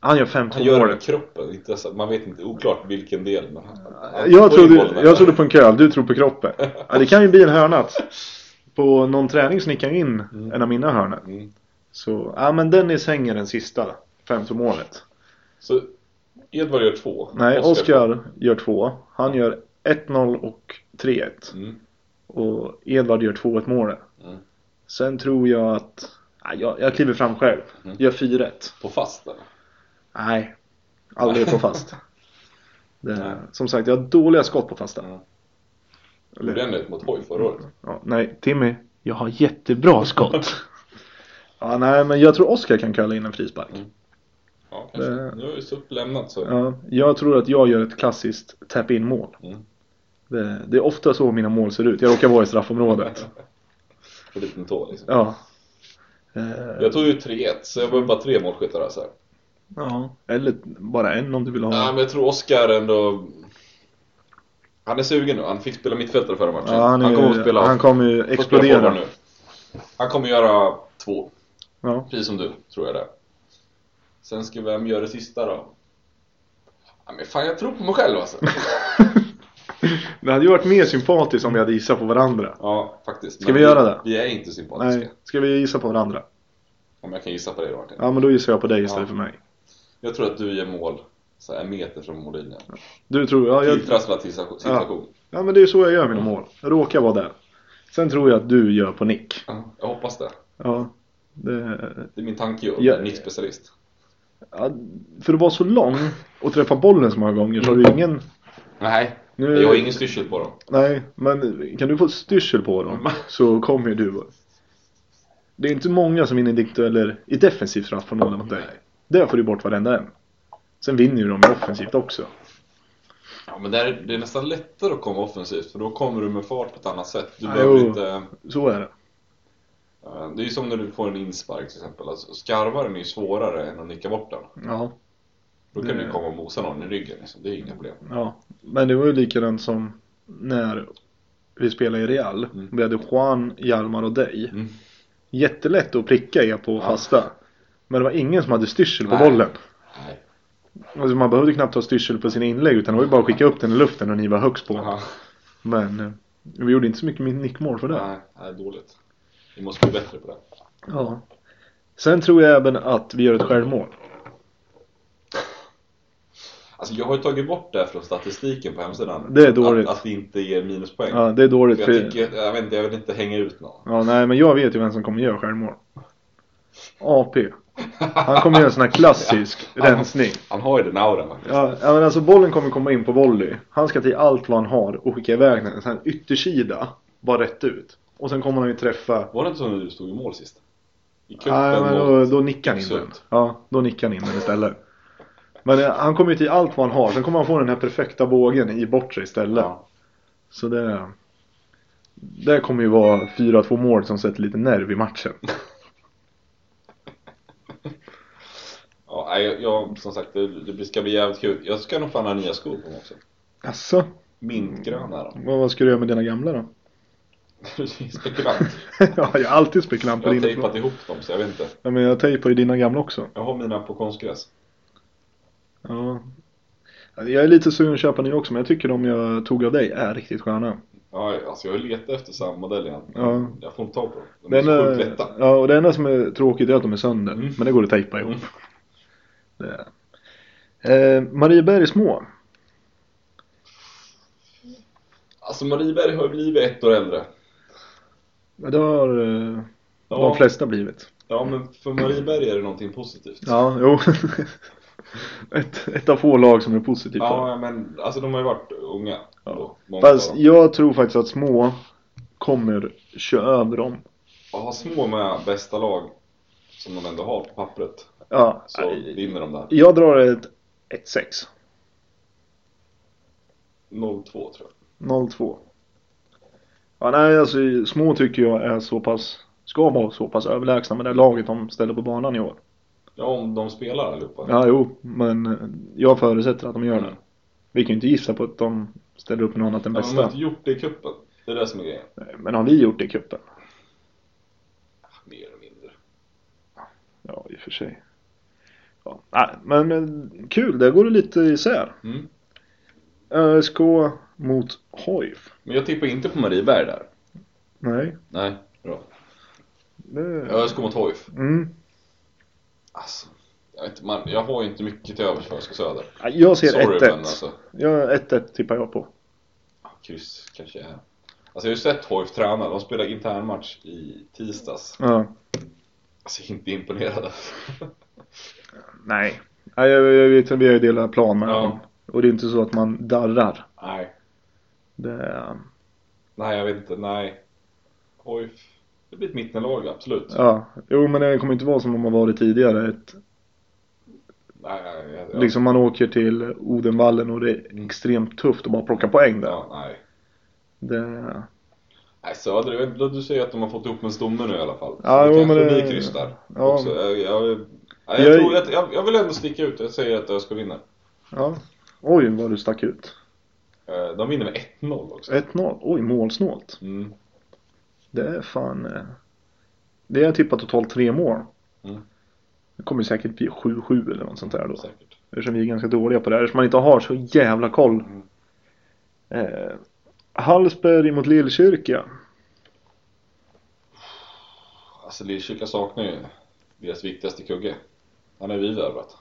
han gör 15 Han gör det målet. med kroppen, inte så, man vet inte, oklart vilken del. Men han, han Jag får in bollen trodde, där. jag trodde på en köl, du tror på kroppen. Ja, det kan ju bli en hörna. att- På någon träning snickar jag in Mm. en av mina hörnor. Mm. Så, ja men Dennis hänger den sista 15 målet. Så Edvard gör två. Nej, Oscar- Oskar gör två. Han gör 1-0 och 3-1. Mm. Och Edvard gör 2-1 målet. Mm. Sen tror jag att... Nej, jag, jag kliver fram själv. Mm. Gör 4-1. På fast eller? Nej, aldrig på fast. Det, Nej. som sagt, jag har dåliga skott på fasta. Mm. Eller- Gjorde han det mot Hoj förra året? ja, nej, Timmy. Jag har jättebra skott. ja, nej, men jag tror Oskar kan kalla in en frispark. Mm. Ja, kanske. Det- Nu är det SUP lämnat så. Ja, jag tror att jag gör ett klassiskt tap-in mål. Mm. Det, det är ofta så mina mål ser ut. Jag råkar vara i straffområdet. På liten tå liksom. Ja. Eh, Jag tog ju 3-1, så jag behöver bara tre målskyttar alltså. här. ja. Eller bara en om du vill ha. Nej, men jag tror Oscar ändå... Han är sugen nu, han fick spela mittfältare förra matchen. Ja, han, är, han kommer att spela... han kommer ju får spela explodera. forward Han kommer göra två, Ja. precis som du, tror jag det. Sen ska vem göra det sista då? Ja, men fan, jag tror på mig själv alltså. Det hade ju varit mer sympatiskt om vi hade gissat på varandra. ja, faktiskt. Ska vi göra det? Vi är inte sympatiska. Nej, ska vi gissa på varandra? Om jag kan gissa på dig då Martin. Ja, men då gissar jag på dig istället Ja. för mig. Jag tror att du ger mål så här, en meter från mållinjen. Du tror... Ja, jag, Tilltrasslad till situa- situation. ja, men det är så jag gör mina mål. Jag råkar vara där. Sen tror jag att du gör på nick. Ja. Jag hoppas det. Ja. Det, Det är min tanke ju. Ja. Ja. Nickspecialist. ja, för att vara så lång och träffa bollen så många gånger så har Mm. du ingen... Nej, Nu- jag har ingen styrsel på dem. Nej, men kan du få styrsel på dem Mm. så kommer ju du. Det är inte många som vinner dikt eller i defensiv straffområde mot dig. Där får du bort varenda en. Sen vinner ju de offensivt också. Ja, men där, det är nästan lättare att komma offensivt för då kommer du med fart på ett annat sätt. Du Ja, behöver jo. inte... Så är det. eh, Det är ju som när du får en inspark till exempel. Alltså, skarvaren är ju svårare än att nicka bort den. Ja. Då kan Det- du komma och mosa någon i ryggen. Liksom. Det är inga problem. ja. Men det var ju likadant som när vi spelade i Real. Mm. Vi hade Juan, Hjalmar och dig. Mm. Jättelätt att pricka er på fasta. Men det var ingen som hade styrsel på Nej. bollen. Nej. Alltså man behövde knappt ha styrsel på sina inlägg utan det var ju bara att skicka upp den i luften och ni var högst på. Aha. Men eh, vi gjorde inte så mycket nickmål för det. Nej, nej, dåligt. Vi måste bli bättre på det. Ja. Sen tror jag även att vi gör ett självmål. Alltså jag har ju tagit bort det här från statistiken på hemsidan. Det är dåligt. Att, att det inte ger minuspoäng. Ja, det är För dåligt jag, för... tycker, jag, vet inte, jag vill inte hänga ut någon. Ja, nej, men jag vet ju vem som kommer göra självmål. AP. Han kommer göra en sån här klassisk rensning. Han har ju den auran faktiskt. Ja, ja, men alltså bollen kommer komma in på volley. Han ska till allt vad han har och skicka iväg den. Sen yttersida, bara rätt ut. Och sen kommer han ju träffa... Var det inte så när du stod i mål sist? I cupen Nej, men mot- då, då nickar han in den. Absurt. Ja, då nickar han in den istället. Men eh, han kommer ju till allt vad han har. Sen kommer han få den här perfekta bågen i bortre istället. Ja. Så det... Det kommer ju vara 4-2 mål som sätter lite nerv i matchen. Ja, nej, jag, jag, som sagt, det, det ska bli jävligt kul. Jag ska nog fan ha nya skor på mig också. Alltså, Mintgröna då. vad, vad ska du göra med dina gamla då? Spekulant. ja, jag har alltid spekulant Jag på har dina. tejpat ihop dem så jag vet inte. Ja, men jag tejpar ju dina gamla också. Jag har mina på konstgräs. Ja. Jag är lite sugen att köpa nya också, men jag tycker de jag tog av dig är riktigt sköna. Ja, alltså jag har letat efter samma modell igen. Ja. eh, Jag får inte tag på dem. De är Den så sjukt är, lätta. ja, och det enda som är tråkigt är att de är sönder, Mm. men det går att tejpa ihop. Mm. Det. Eh, Marieberg är små. Alltså Marieberg har ju blivit ett år äldre. Det har eh, Ja, de flesta blivit. ja men för Marieberg är det någonting positivt. Ja, jo. ett, ett av få lag som är positivt. Ja, men alltså de har ju varit unga. Ja. Då, många Fast av dem. jag tror faktiskt att små kommer köra över dem. Och har små med bästa lag som de ändå har på pappret Ja, så vinner de där. jag drar ett 1-6. 0-2 tror jag. 0-2. Ja, nej, alltså små tycker jag är så pass, ska vara så pass överlägsna med det laget de ställer på banan i år. Ja, om de spelar allihopa. Ja, jo, men eh, jag förutsätter att de gör Mm. det. Vi kan ju inte gissa på att de ställer upp något annat än Men de har bästa. inte gjort det i cupen. Det är det som är grejen. Men har vi gjort det i cupen? mer eller mindre. Ja, i och för sig. Ja, nej, men, men kul, där går det lite isär. Mm. ÖSK mot HIF. Men jag tippar inte på Marieberg där. Nej. Nej, bra. Det... ÖSK mot HIF. Mm. Alltså, jag, vet inte, man, jag har ju inte mycket till övers för ÖSK Söder. Ja, Jag ser Sorry 1-1. men alltså. Ja, 1-1 tippar jag på. ja, Kryss kanske är... Alltså jag har ju sett HIF träna, de spelade internmatch i tisdags. Ja. Alltså jag är inte imponerad. alltså. Nej. Nej, jag, jag vet att vi har ju delat plan med Ja. honom. Och det är inte så att man darrar. Nej, Det är... nej jag vet inte, nej. HIF, det blir ett mittenlag absolut. Ja. Jo, men det kommer inte vara som de har varit tidigare. Ett, Nej, jag, jag, Liksom man åker till Odenvallen och det är extremt tufft att bara plocka poäng där. ja, nej. Det... Nej Söder, jag vet inte, du säger att de har fått ihop en stomme nu i alla fall. Så Ja, det jo, kanske men det- blir kryss där ja. också. Jag, jag, nej, Jag- jag, tror, jag, jag, jag vill ändå sticka ut, jag säger att ÖSK vinner. Ja. Oj, vad du stack ut. Eh, De vinner med 1-0 också. 1-0. Oj, målsnålt. Mm. Det är fan... eh, Det är tippat totalt tre mål. Mm. Det kommer säkert bli 7-7 eller något sånt där då. Säkert. Eftersom vi är ganska dåliga på det här. Eftersom man inte har så jävla koll. Mm. Eh, Hallsberg mot Lillkyrka. Alltså Lillkyrka saknar ju deras viktigaste kugge. Han är vi värvat.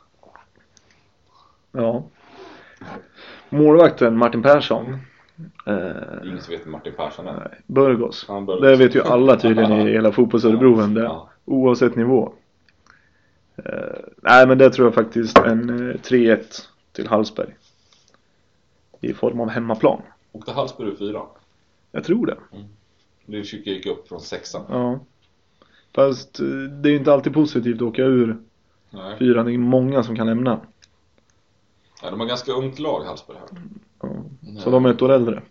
Ja. Målvakten Martin Persson. Eh, Ingen som vet vem Martin Persson är. Burgos. Han bör- Det vet ju alla tydligen i hela fotbolls-Örebro vem det är. Ja. Oavsett nivå. Eh, nej men det tror jag faktiskt en eh, 3-1 till Hallsberg. I form av hemmaplan. Åkte Hallsberg ur fyran. Jag tror det. Lillkyrka gick upp från sexan. Ja. Fast eh, det är ju inte alltid positivt att åka ur Nej. fyran. Det är många som kan lämna. Ja, de har ganska ungt lag Hallsberg här. Ja. Så de är ett år äldre.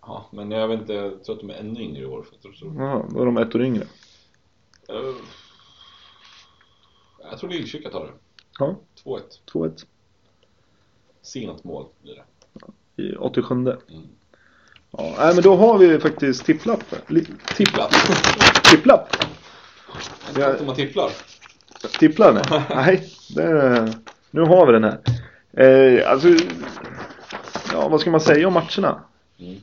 Ja, men jag vet inte, jag tror att de är ännu yngre i år. För jag, tror, tror. Ja, då är de ett år yngre. Eh, jag tror Lillkyrka tar det. Ja, 2-1. 2-1. Sent mål blir det. I 87. Mm. Ja, nej, men då har vi faktiskt tipplapp. Li- Tipplat. Tipplapp? Jag vet inte om man tipplar. Tipplar ni? Nej, det, nu har vi den här. Eh, alltså, ja, vad ska man säga om matcherna? Mm.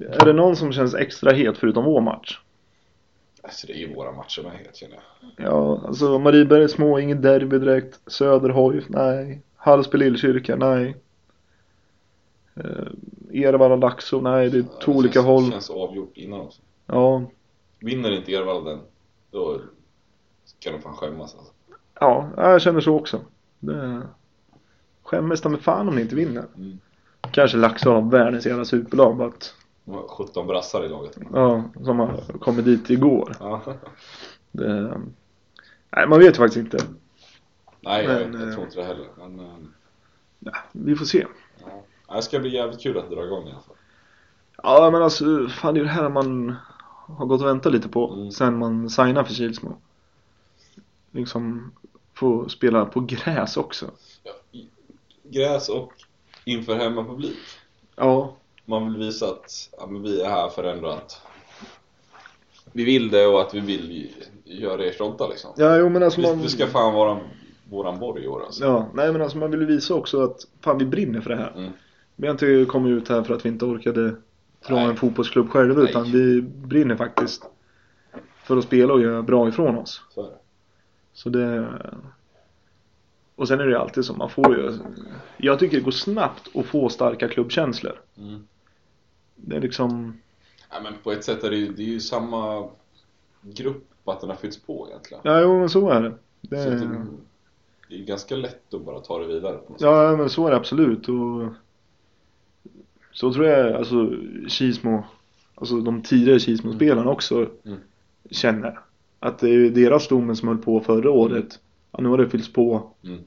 Är det någon som känns extra het förutom vår match? Alltså det är ju våra matcher med helt känner jag. Ja, alltså Marieberg är små, inget derby direkt. Söder HIF, nej. Hallsberg Lillkyrka, nej. Eh, Ervalla Laxå, nej. Det är Ja, två olika känns, håll. känns avgjort innan också. Ja, Vinner inte Ervalla den, då kan de fan skämmas alltså. ja, jag känner så också. Det... Skämmes ta mig fan om ni inte vinner. Mm. Kanske Laxå har världens jävla superlag bara att De har 17 brassar i laget. Ja, som har kommit dit igår. Ja. Det, nej, man vet ju faktiskt inte. Nej, jag, Men, vet, jag eh, tror inte det heller. Men, eh, Vi får se. ja, det ska bli jävligt kul att dra igång i alla fall. Ja, men alltså fan det är ju det här man har gått och väntat lite på Mm. sen man signade för Kilsmo. Liksom få spela på gräs också. Ja, i- gräs och inför hemmapublik. Ja, Man vill visa att ja, men vi är här för ändå att vi vill det och att vi vill ju- göra er stolta liksom. ja jo men alltså Vi, man... vi ska fan vara våran borg i år alltså. Ja, nej men alltså man vill ju visa också att fan vi brinner för det här. Mm. Vi har inte kommit ut här för att vi inte orkade dra Nej. en fotbollsklubb själva Nej. utan vi brinner faktiskt för att spela och göra bra ifrån oss. Så är det. Så det... Och sen är det ju alltid så, man får ju... Jag tycker det går snabbt att få starka klubbkänslor. Mm. Det är liksom... Ja, men på ett sätt är det ju, det är ju samma grupp att den har fyllts på egentligen. Ja, jo men så är det. det... Så att det, det är ju ganska lätt att bara ta det vidare på något sätt. Ja, men så är det absolut. Och... Så tror jag alltså Kismo, alltså de tidigare Kismo-spelarna också Mm. känner. Att det är ju deras stomme som höll på förra året. Ja, nu har det fyllts på. Mm.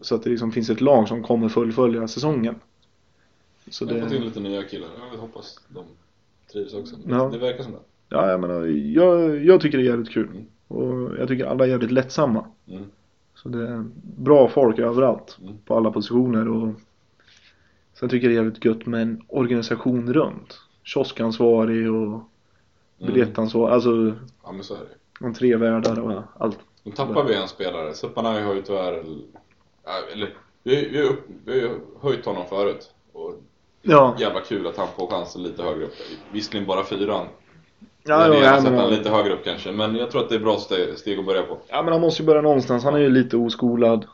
Så att det liksom finns ett lag som kommer fullfölja säsongen. Så Jag har fått in det, lite nya killar. Jag hoppas de trivs också. Ja. Det verkar som det. ja, jag, menar, jag, jag tycker det är jävligt kul. Mm. Och jag tycker alla är jävligt lättsamma. Mm. Så det är bra folk överallt. Mm. På alla positioner. Och sen tycker jag det är jävligt gött med en organisation runt. Kioskansvarig och Mm. biljettansvarig. Alltså Ja men så är det om tre världar och allt. Nu tappar vi en spelare. Supanai har ju tyvärr... äh, Eller, vi, vi, har upp- vi har ju höjt honom förut. Och Ja, ja, jävla kul att han får chansen lite högre upp. Visserligen bara fyran. ja, men vi har ja, sett honom men, lite högre upp kanske. Men jag tror att det är bra steg, steg att börja på. ja, men han måste ju börja någonstans. Han är ju lite oskolad.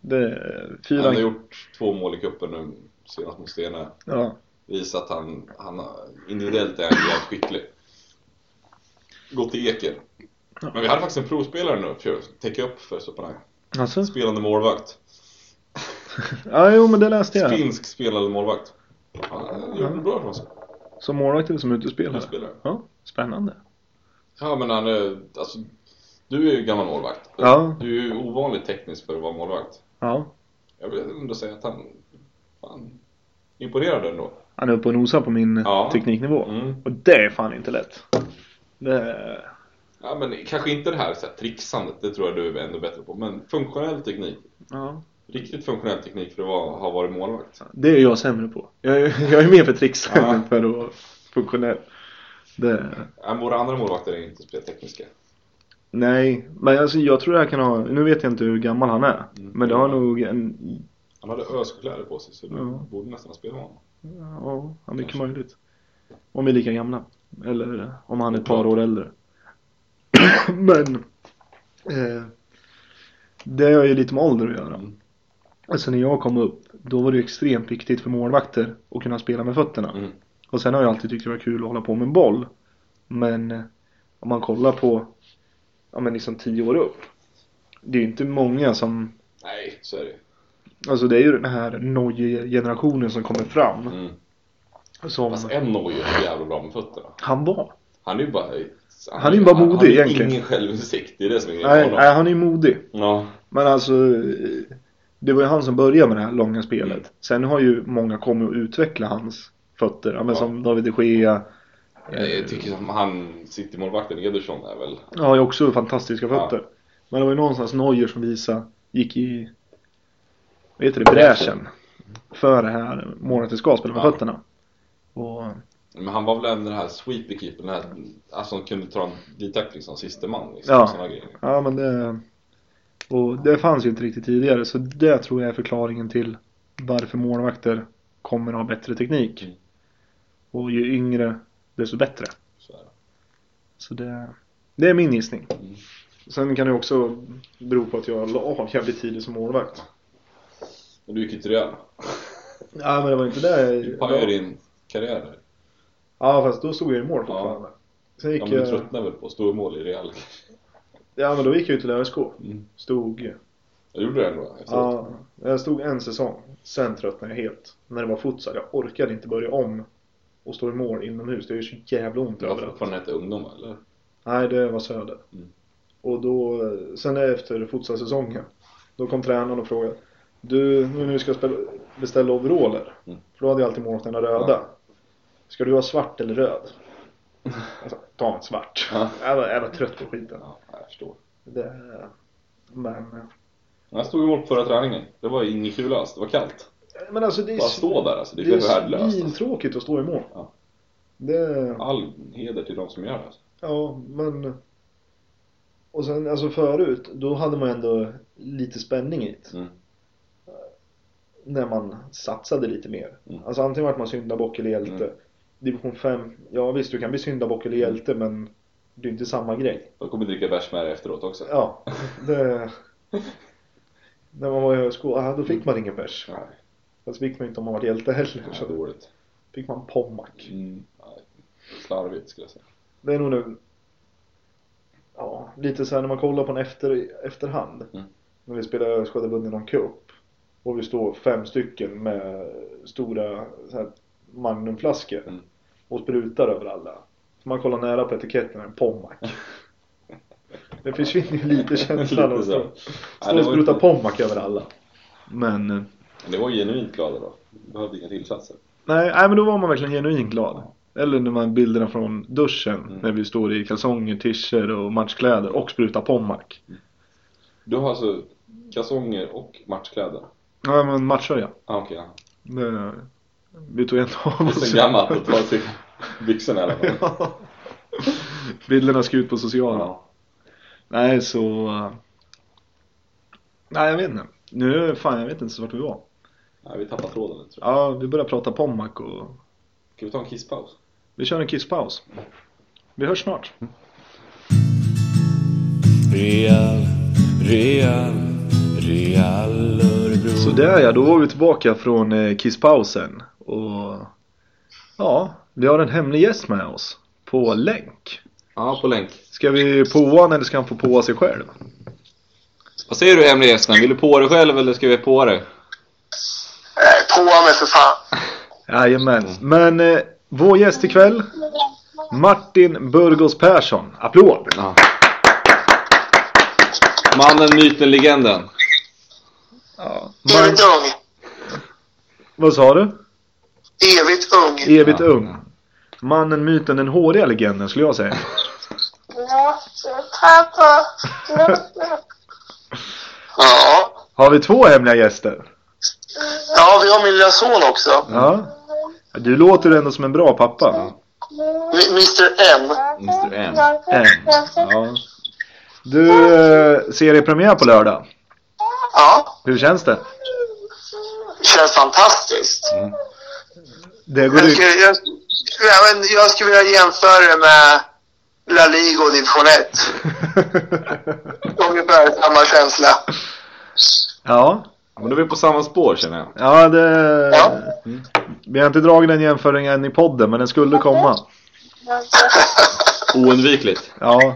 Det, Han har fyran, gjort två mål i cupen nu senast mot Stene. ja. Visat att han, han har- individuellt är han jävligt skicklig. Gått till Eker. Men vi hade faktiskt en provspelare nu för att täcka upp för Supanai. Alltså? Spelande målvakt. Ja, jo, men det läste jag. Finsk spelande målvakt. Han gjorde det bra från sig. Som målvakt eller som utespelare? Utespelare. Ja, spännande. Ja men han är, alltså, du är ju gammal målvakt. Ja. Du är ju ovanligt teknisk för att vara målvakt. Ja. Jag vill ändå säga att han, fan, imponerade ändå. Han är uppe och nosar på min Ja. tekniknivå. Mm. Och det är fan inte lätt. Det... Ja men kanske inte det här, så här trixandet, det tror jag du är ändå bättre på. Men funktionell teknik. Ja. Riktigt funktionell teknik för att vara, ha varit målvakt. Det är jag sämre på. Jag är, jag är mer för trixar Ja. än för att vara funktionell. Det... Ja, våra andra målvakter är inte speltekniska. Nej, men alltså, jag tror det här kan ha... Nu vet jag inte hur gammal han är. Mm. Men det har nog en... Han hade öskläder på sig så du Ja. borde nästan ha spelat honom. Ja, ja, mycket Kanske. möjligt. Om vi är lika gamla. Eller om han är ett par Oklart. år äldre. Men... Eh, det har ju lite med ålder att göra. Mm. Alltså när jag kom upp, då var det ju extremt viktigt för målvakter att kunna spela med fötterna. Mm. Och sen har jag alltid tyckt det var kul att hålla på med en boll. Men eh, om man kollar på, ja men liksom tio år upp. Det är ju inte många som, Nej, så är det ju. alltså det är ju den här Noje-generationen som kommer fram. mm. Som Fast en når ju jävla bra med fötterna. han var. Han är ju bara... Han är ju bara modig han, han egentligen. har ingen självinsikt, det är det som är grejen med Nej, honom. nej, han är ju modig. Ja. Men alltså, eh, det var ju han som började med det här långa spelet. Mm. Sen har ju många kommit att utveckla hans fötter. Ja, men Ja. som David de Gea. Jag, jag tycker som Eh, han, citymålvakten Ederson är väl... Ja, har ju också fantastiska Ja. fötter. Men det var ju någonstans Neuer som visade, gick i, vad heter det, bräschen. För det här målet ska spela med Ja. fötterna. Och, Men han var väl även den här sweeperkeepern, den här, alltså han kunde ta en D-tackling som sista man liksom, Ja. såna grejer. ja men det, och det fanns ju inte riktigt tidigare. Så det tror jag är förklaringen till varför målvakter kommer att ha bättre teknik. Mm. Och ju yngre, desto bättre. Så här. Så det, det är min gissning. Mm. Sen kan det också bero på att jag la av jävligt tidigt som målvakt. Men du gick ju till Real. Ja men det var inte det Du jag... pajade din karriär där. Ja fast då stod jag i mål fortfarande. Sen gick Ja, men du jag... tröttnade väl på att stå i mål i Real? ja men då gick jag ut till ÖSK. Mm. Stod... Jag gjorde det ändå efteråt. Ja, jag stod en säsong. Sen tröttnade jag helt. När det var futsal. Jag orkade inte börja om och stå i mål inomhus. Det gör så jävla ont Du var överallt. fortfarande hette ungdom eller? Nej det var Söder. Mm. Och då... Sen efter futsalsäsongen. Då kom tränaren och frågade. Du, nu när vi ska spela, beställa overaller. Mm. För då hade jag alltid målvakterna röda. Ja. Ska du ha svart eller röd? Jag sa, ta en svart. Ja. Jag, var, jag var trött på skiten. Ja, jag förstår. Det, men, Men Jag stod i mål på förra träningen. Det var inget kul alls, det var kallt. men alltså det är, Bara s- stå där alltså, det det är är ju värdelöst. alltså. svintråkigt att stå i mål. Ja. Det, All heder till de som gör det. alltså. ja, men... Och sen alltså förut, då hade man ändå lite spänning i det. Mm. När man satsade lite mer. Mm. Alltså antingen vart man syndabock eller hjälte. Mm. Division 5, ja visst du kan bli syndabock eller hjälte men det är inte samma grej. Jag kommer dricka bärs med dig efteråt också. Ja, det... När man var i högskolan, ja, då fick man ingen bärs. Nej, Fast fick man inte om man var hjälte heller. det är Så dåligt. fick man pommack. Mm. nej, Slarvigt skulle jag säga. Det är nog nu... Ja, lite så här när man kollar på en efter, efterhand. Mm. När vi spelade ÖSK hade vunnit någon cup. Och vi står fem stycken med stora så här, magnumflaskor. Mm. Och sprutar över alla. Så man kollar nära på etiketten, en pommack. Det försvinner ju lite känslan av Lite att så. stå Nej, stå det och var spruta inte- pommack över alla. Men... eh, Men det var ju genuint glada då. Du behövde inga tillsatser. Nej, nej, men då var man verkligen genuint glad. Eller när man bilderna från duschen Mm. när vi står i kalsonger, t-shirt och matchkläder och sprutar pommack. Du har alltså kalsonger och matchkläder? Ja, men matchtröja. Ah, okej. ja. Det- Vi tog inte av Det är oss. så gammalt att ta sig byxorna i alla fall. Bilderna ska ut på sociala. Ja. Nej, så... eh, Nej, jag vet inte. Nu, fan, jag vet inte så vart vi var. Nej, vi tappar tråden lite tror jag. Ja, vi börjar prata Pommac och... Ska vi ta en kisspaus? Vi kör en kisspaus. Vi hörs snart. Real, Real, Real Örebro. Sådär ja, då var vi tillbaka från eh, kisspausen. Och ja, vi har en hemlig gäst med oss. På länk. Ja, på länk. Ska vi påa han eller ska han få påa sig själv? Vad säger du hemlig gästen? Vill du på dig själv eller ska vi på dig? Nej, påa mig Eh, för fan. Jajamän. Men eh, vår gäst ikväll, Martin Burgos Persson. Applåd! Ja. Mannen, myten, legenden. Man, Evigt ung. vad sa du? Evigt ung. Evigt Ja. ung. Mannen, myten, den håriga legenden skulle jag säga. Pappa. Ja. Har vi två hemliga gäster? Ja, vi har min lilla son också. Ja. Du låter ändå som en bra pappa. M- Mr M. Mr M. Än. Ja. Du eh, ser i premiär på lördag. Ja. Hur känns det? Känns fantastiskt. Det går Jag ut. skulle, jag, jag, vet inte, jag skulle vilja jämföra det med La Liga och division 1. Ungefär samma känsla. ja, Ja, men då är vi på samma spår känner jag. ja det... Ja. Vi har inte dragit den jämföringen i podden, men den skulle komma. Oundvikligt. Ja,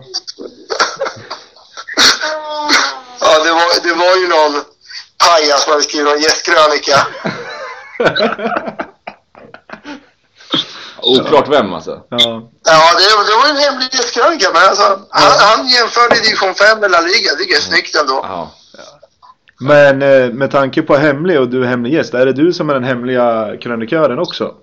Ja, det var, det var ju någon pajas som hade skrivit någon gästkrönika. Oklart vem alltså. ja. Ja, det, det var en hemlig gästkrönika, men alltså, han, han jämförde division 5 med La Liga. Det tycker jag är snyggt ändå. Ja. Men eh, med tanke på hemlig och du är hemlig gäst, är det du som är den hemliga krönikören också?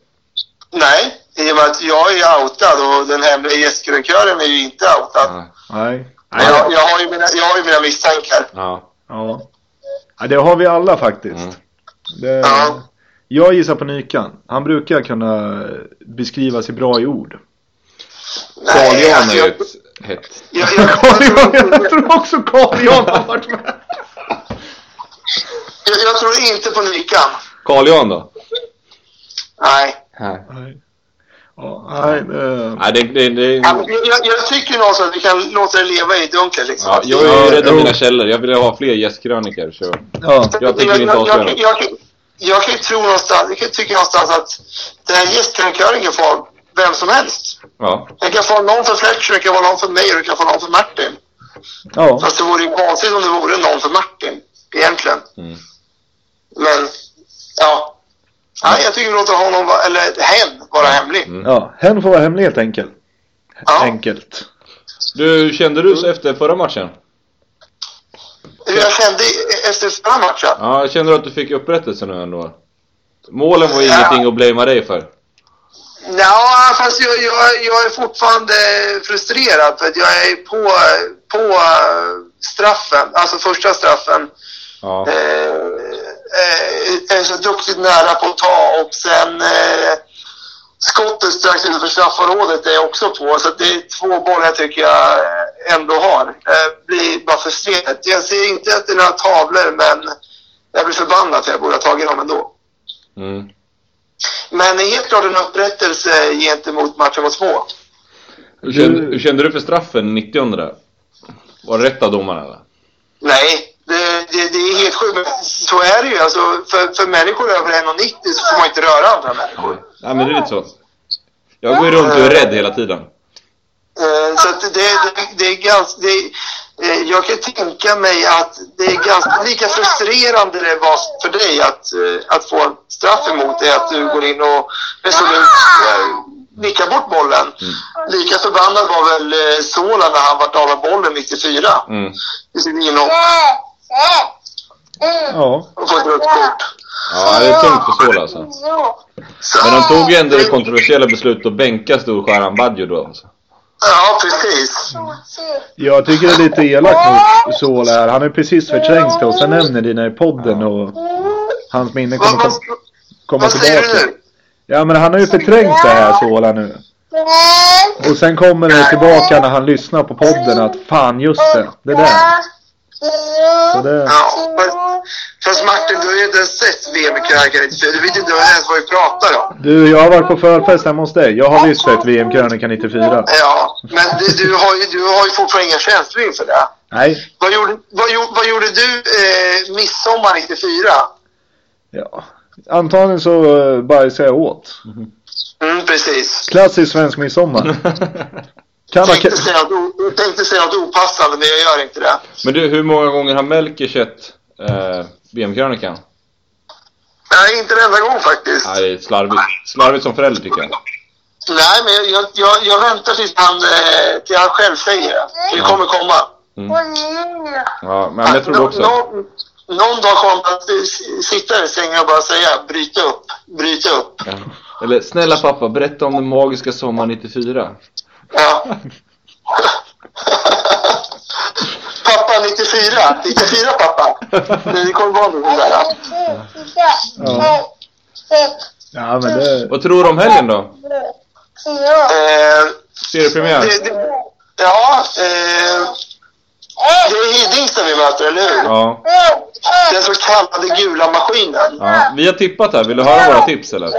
Nej, i och med att jag är outad och den hemliga gästkrönikören är ju inte outad. Ja. Nej. Men Jag, jag, har ju mina, jag har ju mina misstankar. ja. Ja. ja det har vi alla faktiskt. Mm. Det... Ja. Jag gissar på Nykan. Han brukar kunna beskriva sig bra i ord. Nej, Carl-Jan alltså, är ju jag, ett hett. jag, jag, Carl-Johan, jag tror också Carl-Johan har varit med. jag, jag tror inte på Nykan. Carl-Jan då? Nej. Nej. Nej. Ja, nej, eh, det... Nej, det, det, det, Ja, men Jag, jag, jag tycker någonstans att vi kan låta det leva i dunklet liksom. ja, jag är ju rädd om mina källor. Jag vill ha fler gästkrönikor. Så. Ja. jag tänker inte jag, avslöja jag, något. jag, jag, jag kan ju tro någonstans, jag kan ju tycka någonstans att den här gästkrönikören kan få vem som helst. Ja. Den kan få någon för Fletcher, den kan få någon för mig och den kan få någon för Martin. ja. Fast det vore ju konstigt om det vore någon för Martin, egentligen. Mm. Men, ja. Nej, jag tycker vi låter honom, va- eller hen, vara Mm. hemlig. Ja, hen får vara hemlig helt enkelt. Ja. Enkelt. Du, hur kände du så efter förra matchen? Hur jag kände i- efter förra matchen? Ja, jag känner att du fick upprättelse nu ändå? Målen var ingenting att blamea dig för. Ja, fast jag, jag, jag är fortfarande frustrerad för att jag är på, på eh, straffen, alltså första straffen. Ja. Eh, eh, är så duktigt nära på att ta och sen eh, skottet strax utanför straffområdet är jag också på. Så att det är två bollar jag tycker jag ändå har. Eh, blir bara frustrerad. Jag ser inte att det är några tavlor men jag blir förbannad för jag borde ha tagit dem ändå. Mm. Men helt klart en upprättelse gentemot matchen mot två. Hur, kände, hur kände du för straffen 90 där? Var det rätt av domaren eller? Nej, det, det, det är helt sjukt. Men så är det ju. Alltså, för, för människor över 1,90 så får man inte röra andra människor. Nej men det är lite så. Jag går ju runt och är rädd hela tiden. Eh, Så att det, det, det är ganska... Det, eh, jag kan tänka mig att det är ganska lika frustrerande det var för dig att, eh, att få en straff emot dig, att du går in och resolut eh, nickar bort bollen. Mm. Lika förbannad var väl eh, Sola när han vart av med bollen 94 Mm. i sin inhopp. Ja. och fått rött kort. Ja, det är tungt för Sola alltså. Men de tog ju ändå Ah, det kontroversiella beslutet att bänka storstjärnan Badjo då alltså. Ja, precis. Jag tycker det är lite elakt mot Sola här. Han är precis förträngt det och sen nämner dina i podden och hans minne kommer Vad, kom, vad, komma vad säger du tillbaka. nu? Ja men han har ju förträngt det här Sola nu. Och sen kommer det tillbaka när han lyssnar på podden att fan just det, det där. Så det, Ja, fast, fast Martin, du har ju inte ens sett VM i Krakarit, för du vet inte ens vad vi pratar om. du, jag har varit på förfest hemma hos dig. Jag har visst sett VM-krönika 94. Ja, men du, du, har, ju, du har ju fortfarande inga känslor inför det. Nej, Vad gjorde, vad, gjorde- vad gjorde du eh, midsommar 94? ja. Antagligen så eh, bajsade jag åt. Mm, precis. Klassisk svensk midsommar. Kan ha, Jag tänkte, säga att, o- jag tänkte säga att opassande, men jag gör inte det. Men du, hur många gånger har Melker sett eh, VM-krönikan? Nej, inte en enda gång faktiskt. Nej, det är slarvigt. Slarvigt som förälder tycker jag. Nej, men jag, jag, jag, jag väntar tills han, eh, till han själv säger det. Det kommer komma. Ja, men jag tror det också. Någon, någon dag kommer han att s- sitta där i sängen och bara säga bryt upp, bryt upp. Ja. Eller, snälla pappa, berätta om den magiska sommaren 94. Ja. pappa 94, 94 pappa. Det kommer vara någon där. ja. ja, men det, Vad tror du om helgen då? Eh, Seriepremiär? det, det, ja, eh, det är Hidingstad vi möter, eller hur? Ja. Den så kallade gula maskinen. ja. Vi har tippat här. Vill du höra våra tips eller?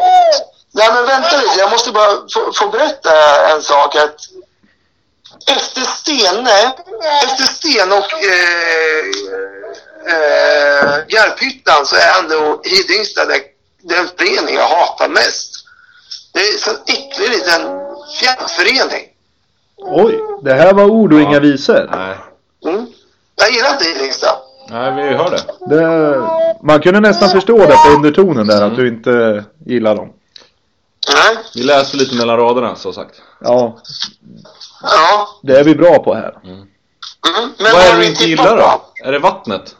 Nej men vänta lite, jag måste bara få, få berätta en sak. Att efter Stene, efter Stene och eh, eh, Garphyttan så är ändå Hidingstad den- den förening jag hatar mest. Det är en sån äcklig liten fjällförening. oj, det här var ord och inga visor. Nej. Mm. Jag gillar inte Hidingstad. Nej, vi hör det. Det, man kunde nästan förstå det på undertonen där att du inte gillar dem. Nej, Vi läser lite mellan raderna, som sagt. Ja, ja. det är vi bra på här. Mm. Men Vad är det har du ni inte tippat gillar på? då? Är det vattnet?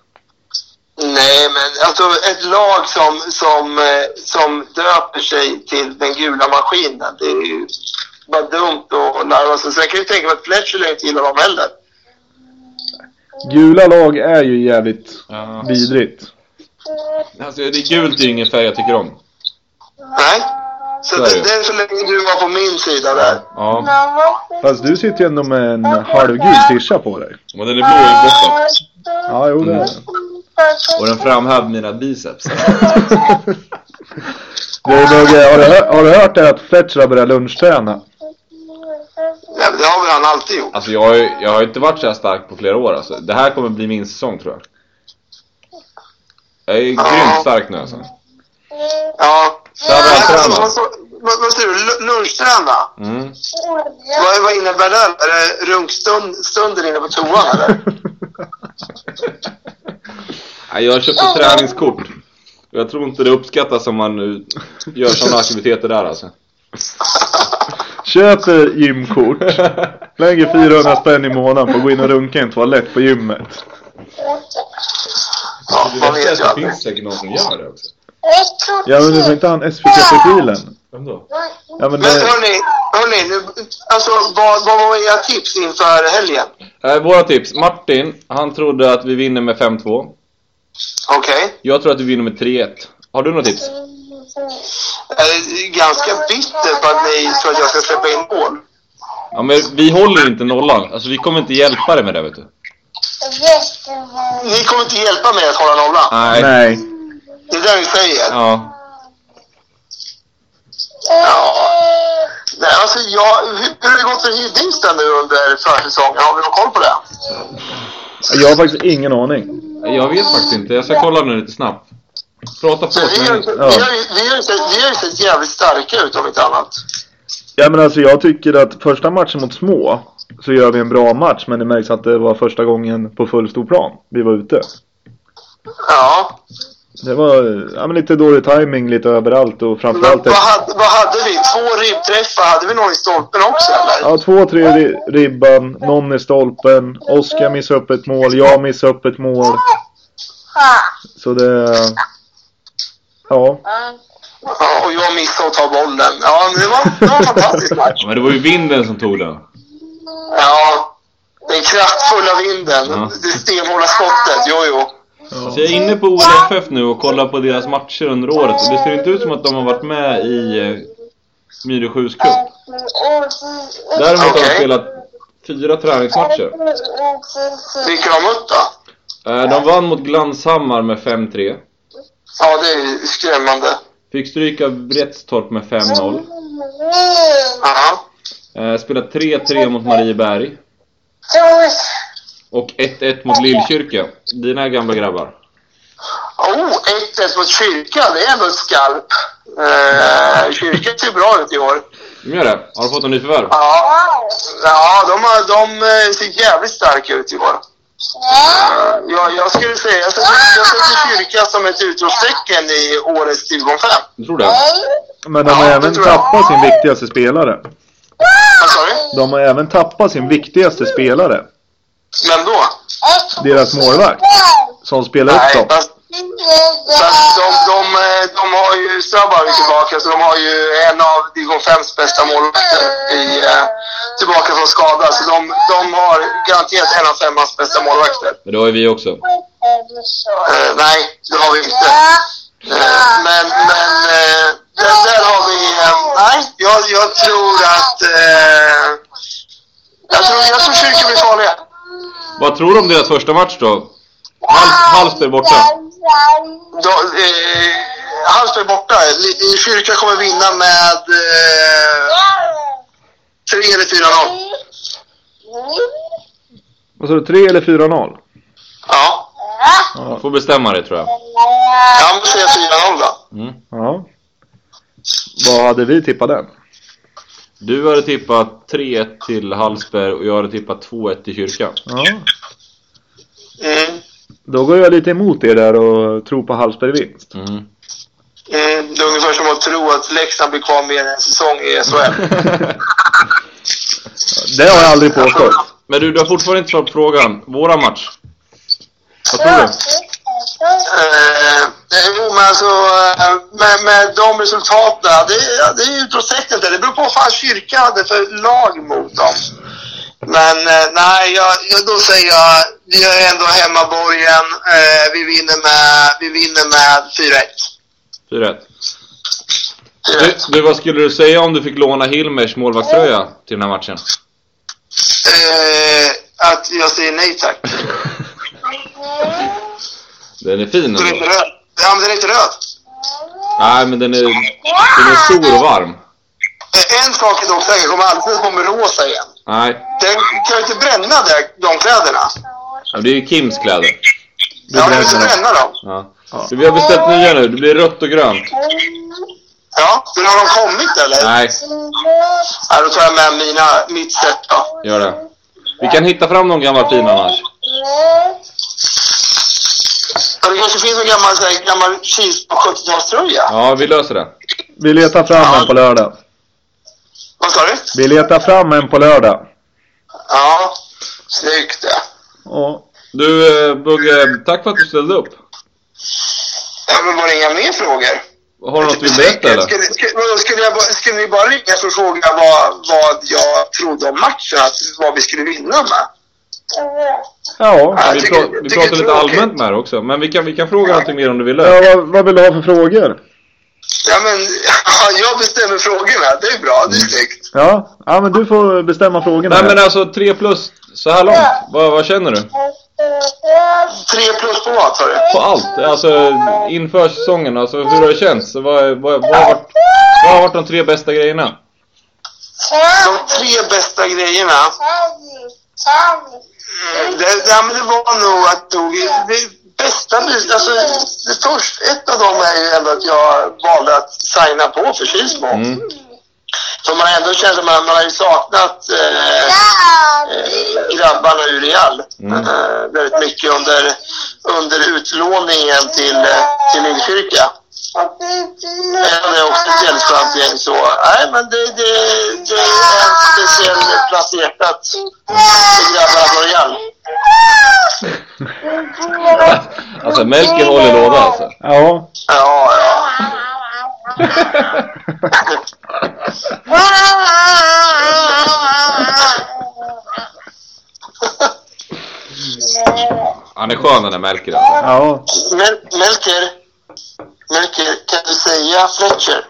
Nej, men alltså ett lag som, som, eh, som döper sig till den gula maskinen. Det är ju bara dumt och larva sig. Sen kan jag ju tänka mig att Fletcher inte gillar dem heller. Gula lag är ju jävligt Ja. vidrigt. Alltså, det är gult är ju ingen färg jag tycker om. Nej. Så Så är det, det. det är så länge du var på min sida där. Ja. Fast du sitter ju ändå med en halvgul tischa på dig. Men den är blå i botten. Ja, jo det är det. Och den framhävde mina biceps. Du, Bugge, har, du hör, har du hört det att Fletcher har börjat lunchträna? Nej, men det har väl han alltid gjort. Alltså jag har, ju, jag har inte varit så här stark på flera år alltså. Det här kommer bli min säsong tror jag. Jag är grymt stark nu alltså. Ja. Sabra Alltså, tränar. vad- vad- Vad säger du? Lu- Lunchträna? Mm. Vad, vad innebär det? Är det runkstunden inne på toan eller? Nej, Jag har köpt ett träningskort. Och Jag tror inte det uppskattas om man nu gör sådana aktiviteter där alltså. Köper gymkort. Lägger 400 spänn i månaden på att gå in och runka i en toalett på gymmet. Ja, vad Det, vet det jag. finns säkert någon som gör det också. Ja men det var inte han SVT-profilen? Vem då? Ja men Men det, hörni, hörni nu, alltså, vad, vad var era tips inför helgen? Eh, våra tips. Martin, han trodde att vi vinner med 5-2. Okej. Jag tror att vi vinner med 3-1. Har du några tips? Jag är ganska bitter på att ni tror att jag ska släppa in mål. Ja men vi håller inte nollan. Alltså vi kommer inte hjälpa dig med det vet du. Ni kommer inte hjälpa mig att hålla nollan. Nej. nej. Det är det ni säger. Ja. Nej, alltså jag, hur hur har det gått för Hidingstad nu under försäsongen? Har vi någon koll på det? Jag har faktiskt ingen aning. Jag vet faktiskt inte. Jag ska kolla nu lite snabbt. Prata på. Vi har ju Men... vi har ju- vi har ju sett- vi har ju sett jävligt starka ut om inte annat. Ja men alltså jag tycker att första matchen mot små så gör vi en bra match men det märks att det var första gången på full stor plan vi var ute. Ja. Det var ja, men lite dålig timing lite överallt och Men framförallt vad ett, hade, vad hade vi? Två ribbträffar? Hade vi någon i stolpen också eller? Ja, två, tre i ribban, någon i stolpen. Oskar missar upp ett mål, jag missar upp ett mål. Så det... Ja. Ja, och jag missade att ta bollen. Ja, men det var, det var en fantastisk match. Ja, men det var ju vinden som tog den. Ja, den kraftfulla vinden, Ja. det stenhårda skottet. Jo, jo. Alltså jag är inne på OLFF nu och kollar på deras matcher under året och det ser inte ut som att de har varit med i eh, Myresjös cup. Däremot har de Okej. spelat fyra träningsmatcher. Vilka har de mött då? Eh, De vann mot Glanshammar med 5-3. Ja, det är skrämmande. Fick stryka Vretstorp med 5-0. Ja. Eh, Spelat 3-3 mot Marieberg. Och 1-1 mot Lillkyrka. Dina gamla grabbar. Oh, 1-1 mot kyrkan. Det är ändå ett skalp. Eh, kyrkan ser bra ut i år. De gör det. Har du fått en ny förvärv? Ja, ja de, har, de eh, ser jävligt starka ut i år. Eh, Ja, jag skulle säga, jag sätter, jag sätter kyrkan som ett utropstecken i årets division 5. Du tror det? Men de har Ja, det även tror jag. tappat sin viktigaste spelare. Vad sa du? De har även tappat sin viktigaste spelare. Vem då? Deras målvakt. Som spelar upp Nej, dem. fast, fast de, de, eh, de har ju Strabavi tillbaka, så de har ju en av division 5s bästa målvakter i, eh, tillbaka från skada. Så de, de har garanterat en av femmans bästa målvakter. Men det har ju vi också. Eh, nej, det har vi inte. Eh, men, men eh, där, där har vi... Eh, nej, jag, jag tror att... Eh, jag tror, jag tror kyrkan blir farliga. Vad tror du om deras första match då? Hal- Hallsberg borta. Då, eh, Hallsberg borta. Li- Kyrka kommer vinna med eh, 3 eller 4-0. Vad sa du? 3 eller 4-0? Ja, Du får bestämma dig tror jag. jag måste säga 4-0 då. Mm. Ja. Vad hade vi tippat den? Du hade tippat 3-1 till Hallsberg och jag hade tippat 2-1 till Kyrka. Ja. Mm. Då går jag lite emot er där och tror på Hallsberg vinst. Mm. Mm, det är ungefär som att tro att Leksand blir kvar mer än en säsong i SHL. Det har jag aldrig påstått. Men du, du har fortfarande inte svarat på frågan. Våra match. Vad tror du? Eh, jo, men alltså eh, med, med de resultaten, det, ja, det är ju prospektet där. Det beror på vad fan kyrkan hade för lag mot dem. Men eh, nej, jag, jag, då säger jag, vi är ändå hemmaborgen. Eh, vi vinner med, vi vinner med 4-1. 4-1. Du, du, vad skulle du säga om du fick låna Hilmers målvaktströja till den här matchen? Eh, att jag säger nej tack. Den är fin Den är inte ändå. röd. Ja, men den är inte röd. Nej, men den är, den är stor och varm. Eh, en sak är dock säker, kommer aldrig att kommer rosa igen. Nej, Den kan ju inte bränna där, de kläderna. Ja, det är ju Kims kläder. Ja, den kan bränner inte bränna dem. Ja. Så vi har beställt nya nu. Det blir rött och grönt. Ja, men har de kommit eller? Nej, Ja, då tar jag med mina, mitt sätt då. gör det. Vi kan hitta fram någon gammal fin annars. Ja, det kanske finns en gammal, så här, gammal Kils på 70-talströja? Ja, vi löser det. Vi letar fram en på lördag. Vad sa du? Vi letar fram en på lördag. Ja, snyggt ja. Ja. Du, eh, Bugge, tack för att du ställde upp. Ja, men var det inga mer frågor? Har du något vi berätta eller? Skulle, skulle, vadå, skulle, jag, bara- skulle ni bara ringa för att fråga vad, vad jag trodde om matchen? Att, vad vi skulle vinna med? Ja. Ja, Vi, jag tycker- pra- vi tycker pratar lite det är tråkigt. allmänt med det också. Men vi kan, vi kan fråga någonting mer om du vill. ja vad, vad vill du ha för frågor? Ja, men ja, jag bestämmer frågorna. Det är bra, Mm. det är snyggt. Ja. Ja men du får bestämma frågorna. Nej men alltså, 3 plus så här långt. Vad, vad känner du? Tre plus på vad sa du? På allt? Alltså inför säsongen, alltså hur har det känts? Vad, vad, vad, har varit, vad har varit de tre bästa grejerna? De tre bästa grejerna. Mm, Det, det, men det var nog att tog, det bästa, alltså, det först, ett av dem är ju ändå att jag valde att signa på för Kilsmo. Mm. För man har ändå känt att man, man har ju saknat eh, eh, grabbarna ur Real Mm. eh, väldigt mycket under, under utlåningen till, eh, till Lillkyrka. Även om det är också ett jävligt skönt gäng så, nej men det, det, det är en speciell plats i hjärtat för grabbarna från Real. Alltså Melker håller låda alltså. Ja. Ja, ja. Han är skön den där Melker alltså. Ja. Mel- Melker, Melker, kan du säga Fletcher?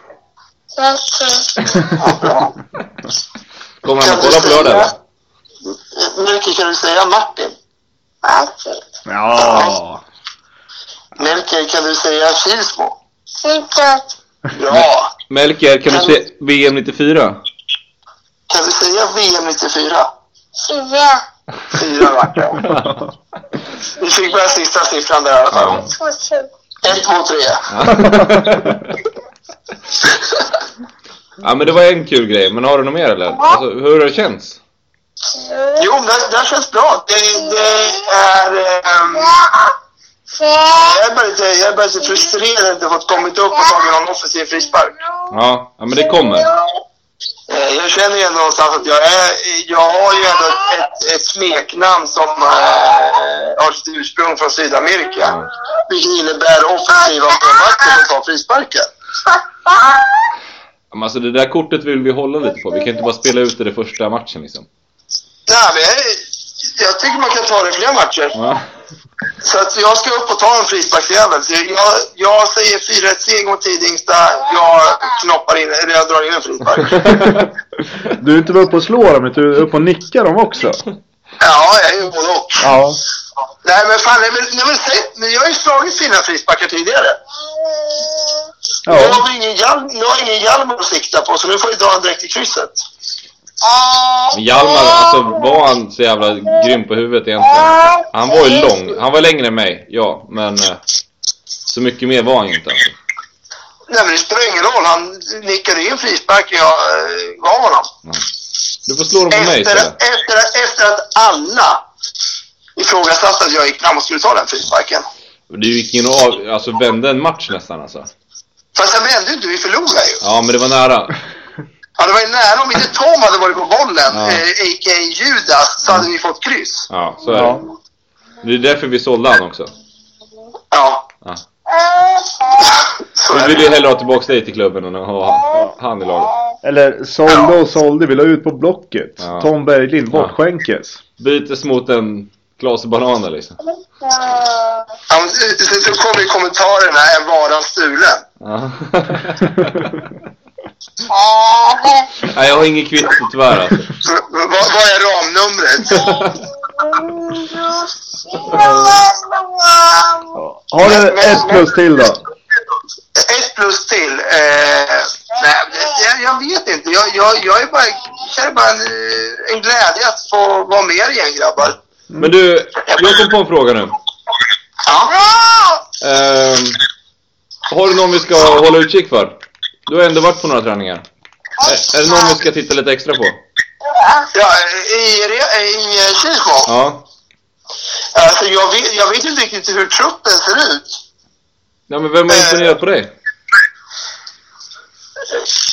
Varför? Ja, bra. alltså. Kommer han att kolla på lördag eller? Melker, kan du säga Martin? Varför? Ja. Melker, kan du säga Kilsmo? Sikkert. Bra! Melker, kan du se VM 94? Kan du säga VM 94? Tio. Fyra vart det. Vi fick bara sista siffran där i alla fall. Tvåtusen. Ett, två, tre. Ja men det var en kul grej, men har du något mer eller? Alltså, hur har det känts? Sju. Jo, men det, det här känns bra. Det, det är... ehm, Fem. jag, är bara lite, jag är bara lite frustrerad att jag inte fått kommit upp och tagit någon offensiv frispark. Ja, ja men det kommer. Eh, Jag känner ju ändå någonstans att jag är... Jag har ju ändå ett, ett smeknamn som eh, har sitt ursprung från Sydamerika. Vilket innebär offensiva målvakter som tar frisparken. Ja, men alltså det där kortet vill vi hålla lite på. Vi kan inte bara spela ut det i första matchen liksom. Nej, men jag, jag tycker man kan ta det i fler matcher. Ja. Så att jag ska upp och ta en frisparksjävel. Så Jag, jag säger 4-1 seger mot Tidingstad. Jag knoppar in, eller jag drar in en frispark. Du är inte bara uppe och slår dem, utan du är uppe och nickar dem också. Ja, jag är ju både och. Ja. Nej, men fan, det är väl, det är väl sett. Men jag har ju slagit fina frisparkar tidigare. Nu har ja. vi ingen, hjälm, nu har ingen Hjalmar att sikta på, så nu får jag dra en direkt i krysset. Men Hjalmar, alltså var han så jävla grym på huvudet egentligen? Han var ju lång. Han var längre än mig, ja. Men eh, så mycket mer var han ju inte. alltså. Nej, men det spelar ingen roll. Han nickade in frisparken jag eh, gav honom. Du får slå dem på mig Efter, istället. efter, efter att alla ifrågasatte att jag gick fram och skulle ta den frisparken. Du gick in och av, alltså vände en match nästan alltså. Fast jag vände ju inte, vi förlorade ju. Ja men det var nära. Ja, det var ju nära. Om inte Tom hade varit på bollen, Ja. eh, a.k.a. Judas, så hade vi fått kryss. Ja, så är det. Ja. Det är därför vi sålde han också. Ja. Ja. Så är Vi vill det. ju hellre ha tillbaka dig till klubben än att ha han i laget. Eller sålde och sålde, vi la ut på Blocket. Ja. Tom Berglind, bortskänkes. Bytes mot en Klase Bananer liksom. Ja, men så, så kommer ju kommentaren här, är varan stulen? Ja. Nej, jag har inget kvitto tyvärr alltså. Så, Vad vad är ramnumret? Ja. Har du ett plus till då? Ett plus till. Eh, nej, det- jag, jag vet inte. Jag, jag, jag är bara, jag är bara en, eh, en glädje att få vara med er igen, grabbar. Men du, jag kom på en fråga nu. Ja. Ehm, har du någon vi ska hålla utkik för? Du har ändå varit på några träningar. Är, är det någon vi ska titta lite extra på? Ja, i, re- i eh, Kilsmo? Ja. Alltså, jag, vet, jag vet inte riktigt hur truppen ser ut. Ja men vem har imponerat på dig?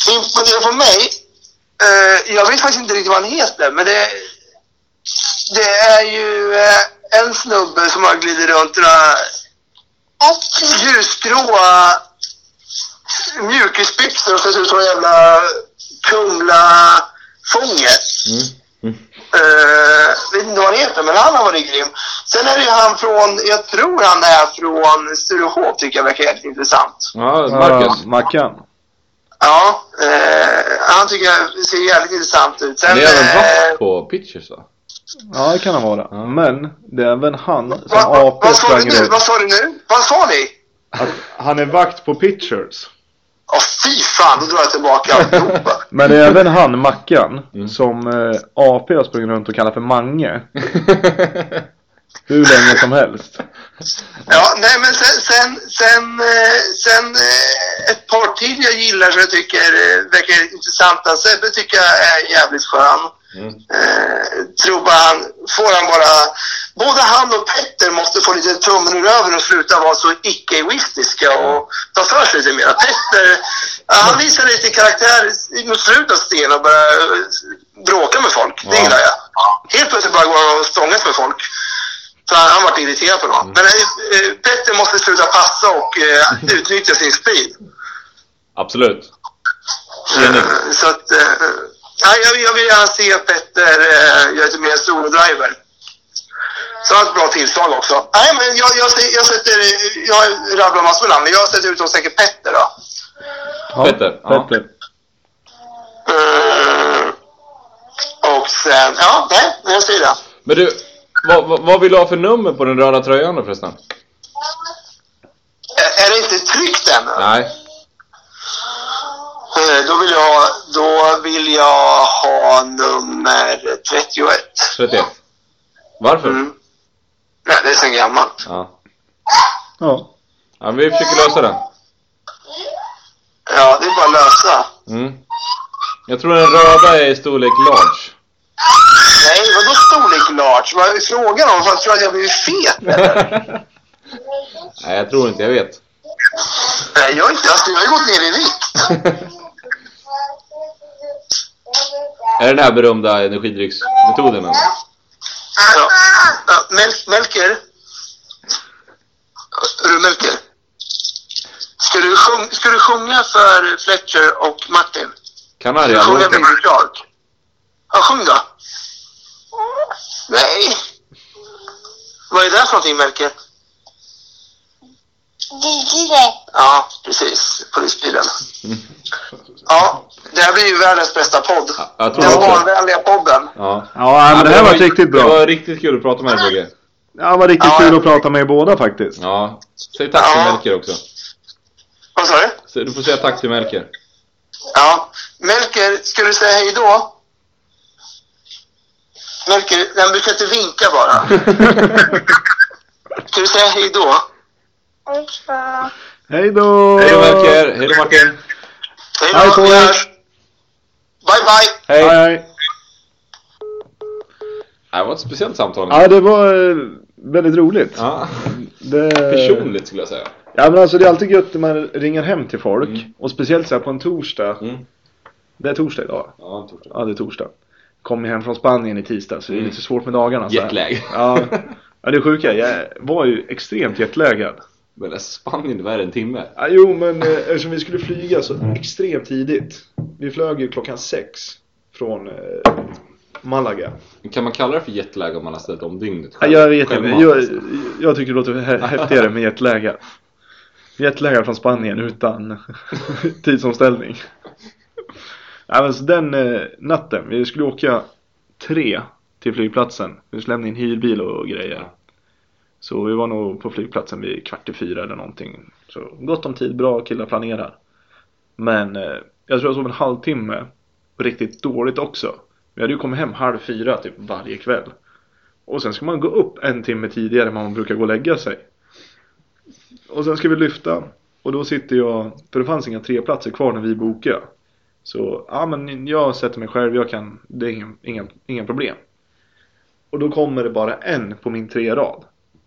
imponerar på mig. Eh, jag vet faktiskt inte riktigt vad han heter, men det, det är ju eh, en snubbe som har glidit runt i några ljusgråa mjukisbyxor och sett ut som en jävla Kumla-fånge. Mm. Eh, vet inte vad han heter, men han har varit grym. Sen är det ju han från, jag tror han är från Sturehof, tycker jag verkar helt intressant. Ja, Marcus. Ja, Mackan. Ja, eh, han tycker jag ser jävligt intressant ut. Sen, Han är även eh, vass på pitchers va? Ja, det kan han vara. Men det är även han som vad, vad, apor vad sa du sprang nu? runt. Vad sa du nu? Vad sa ni? Att han är vakt på pitchers. Åh fy fan, då drar jag tillbaka alltihopa. Men det är även han, Mackan, Mm. som eh, AP har sprungit runt och kallat för Mange. Hur länge som helst. Ja, nej men sen, sen, sen, eh, sen eh, ett par till jag gillar som jag tycker eh, verkar intressanta. Sebbe tycker jag är jävligt skön. Mm. Eh, tror bara han, får han bara... Både han och Petter måste få lite tummen ur över och sluta vara så icke-egoistiska och ta för sig lite mer. Petter, ja, han visar lite karaktär i- mot slutet av Sten och börjar eh, bråka med folk. Det Ja. gillar jag. Helt plötsligt bara går han och stångas med folk. Så han, han vart irriterad på något. Men eh, eh, Petter måste sluta passa och eh, utnyttja sin speed. Absolut. Eh, Så att... Eh, ja, jag, jag vill gärna se Petter eh, göra lite mer solodriver. Så han har ett bra tillslag också. Nej, men jag, jag, se- jag sätter... Jag rabblar massor med namn, men jag sätter ut dem säkert Petter då. Ja, Petter, ja. Petter. bättre än... Eh, Ja, nej, jag säger det. Men du, vad, vad, vad vill du ha för nummer på den röda tröjan då förresten? Är, är det inte tryckt ännu? Nej. Eh, Då vill jag, då vill jag ha nummer 31. 31. Varför? Mm. Nej, det är så gammalt. Ja. Ja. ja, vi försöker lösa den. Ja, det är bara att lösa. Mm. Jag tror den röda är i storlek large. Nej, vadå storlek large? Vad är frågan om? Vad, Tror du att jag blir fet? Nej, jag tror inte, jag vet. Nej, jag är inte. Alltså, jag har ju gått ner i vikt. är det den här berömda energidrycksmetoden? eller? Ja. Ja, Mel- Melker? Är du Melker? Ska du, sjung, ska du sjunga för Fletcher och Martin? Ska du sjunga Kanariealmanackan? Baby Shark? Ja, sjung då. Nej. Vad är det för någonting, Melker? Ja, precis. Polisbilen. Ja, det här blir ju världens bästa podd. Jag tror Den också barnvänliga podden. ja. Ja, men det här var riktigt Det bra. var riktigt kul att prata med dig Bugge. Ja, det var riktigt Ja. kul att prata med er båda faktiskt. Ja. Säg tack till Ja. Melker också. Vad sa du? Så Du får säga tack till Melker. Ja. Melker, ska du säga hej då? Melker, den brukar inte vinka bara. Ska du säga hej då? Hej då! Hej då Melker! Hej då Martin! Hej Hej då, på vi er. hörs. Bye, bye. Hej! Hej, hej. Det var ett speciellt samtal. Ja, det var eh, väldigt roligt. Ja. Det... Personligt skulle jag säga. Ja men alltså det är alltid gött när man ringer hem till folk och speciellt så här på en torsdag. Mm. Det är torsdag idag. Ja, torsdag. Ja det är torsdag. Kom ju hem från Spanien i tisdag så det är lite svårt med dagarna. så här. Mm. Jetlag. Ja. ja det är sjuka, jag var ju extremt jetlaggad. Men alltså, Spanien, vad är det, en timme? Ja, jo men eh, eftersom vi skulle flyga så extremt tidigt. Vi flög ju klockan sex från eh, Malaga. Kan man kalla det för jetlag om man har ställt om dygnet Ja, själv? jag vet inte, Självmant, jag, alltså. jag tycker det låter hä- häftigare med jetlaggad. Jetlaggad från Spanien utan tidsomställning. Ja, men så den eh, natten, vi skulle åka tre till flygplatsen. Vi skulle lämna in hyrbil och grejer. Så vi var nog på flygplatsen vid kvart i fyra eller någonting. Så gott om tid, bra killar planerar. Men eh, jag tror jag sov en halvtimme. Riktigt dåligt också. Vi hade ju kommit hem halv fyra typ varje kväll. Och sen ska man gå upp en timme tidigare än man brukar gå och lägga sig. Och sen ska vi lyfta. Och då sitter jag, för det fanns inga treplatser kvar när vi bokade. Så, ja men jag sätter mig själv, jag kan, det är ingen, ingen, ingen problem. Och då kommer det bara en på min trerad.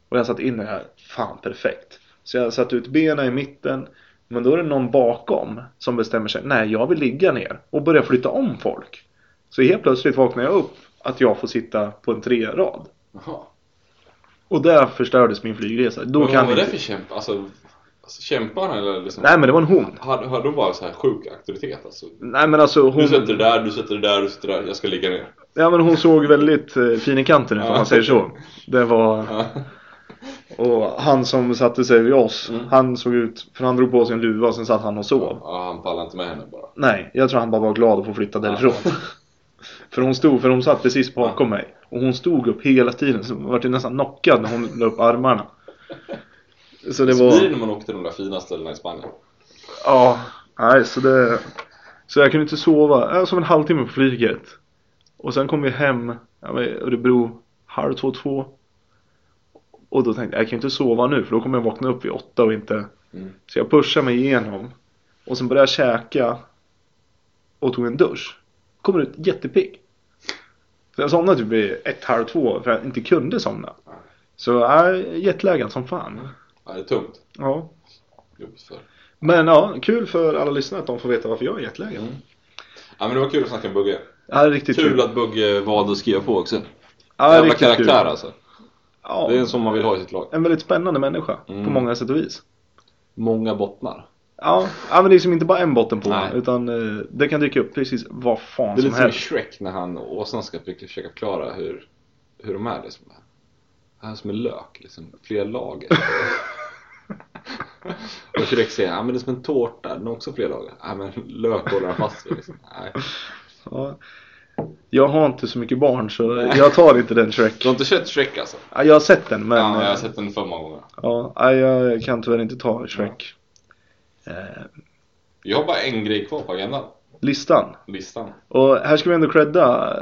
Och jag satt in det här, fan perfekt. Så jag satte ut benen i mitten. Men då är det någon bakom som bestämmer sig, nej jag vill ligga ner. Och börjar flytta om folk. Så helt plötsligt vaknar jag upp att jag får sitta på en trerad. Jaha. Och där förstördes min flygresa. Då Vad kan var det inte... för kämpa? Alltså, alltså kämpar han eller liksom? Nej men det var en hon. Har, har de bara så här sjuk auktoritet alltså? Nej men alltså Du hon, sätter det där, du sätter det där, du sätter det där, jag ska ligga ner. ja, men hon såg väldigt eh, fin i kanten ut om Ja. man säger så. Det var... Ja. Och han som satte sig vid oss, Mm. han såg ut, för han drog på sig en luva och sen satt han och sov. Ja, han pallar inte med henne bara. Nej, jag tror han bara var glad att få flytta därifrån. för hon stod, för hon satt precis bakom mig. Och hon stod upp hela tiden, så vart ju nästan knockad när hon la upp armarna. Så det Det blir det var, när man åker till de där fina ställena i Spanien. ja, nej så det. Så jag kunde inte sova, jag sov en halvtimme på flyget. Och sen kom vi hem, jag var i Örebro, halv två, två. Och då tänkte jag, jag kan ju inte sova nu för då kommer jag vakna upp vid åtta och inte. Mm. Så jag pushade mig igenom. Och sen började jag käka. Och tog en dusch. Kommer ut jättepigg. Så jag somnade typ vid ett, halv två för jag inte kunde somna. Så äh, jetlaggad som fan. Ja, det är tungt. Ja. Jobbigt för. Men ja, kul för alla lyssnare att de får veta varför jag är jetlaggad. Mm. Ja, men det var kul att snacka med Bugge. Ja, det är riktigt Kul kul. att Bugge valde att skriva på också. Ja, Jävla riktigt karaktär kul. alltså. Ja, Det är en som man vill ha i sitt lag. en väldigt spännande människa på Mm. många sätt och vis. Många bottnar. Ja, ja, men det är liksom inte bara en botten på Nej. utan eh, det kan dyka upp precis vad fan Det är som lite som i helst. Shrek när han och åsnan ska försöka förklara hur, hur de är. Liksom. Det här är som en lök, liksom. flera lager. och Shrek säger ja, men det är som en tårta, den har också flera lager. Ja, men lök håller han fast vid. Liksom. Nej. Ja. Jag har inte så mycket barn så jag tar inte den Shrek. Du har inte sett Shrek alltså? Ja, Jag har sett den men Ja, jag har eh, sett den för många gånger. ja, nej, jag kan tyvärr inte ta Shrek. Eh, Jag har bara en grej kvar på agendan. listan. Listan. Och här ska vi ändå credda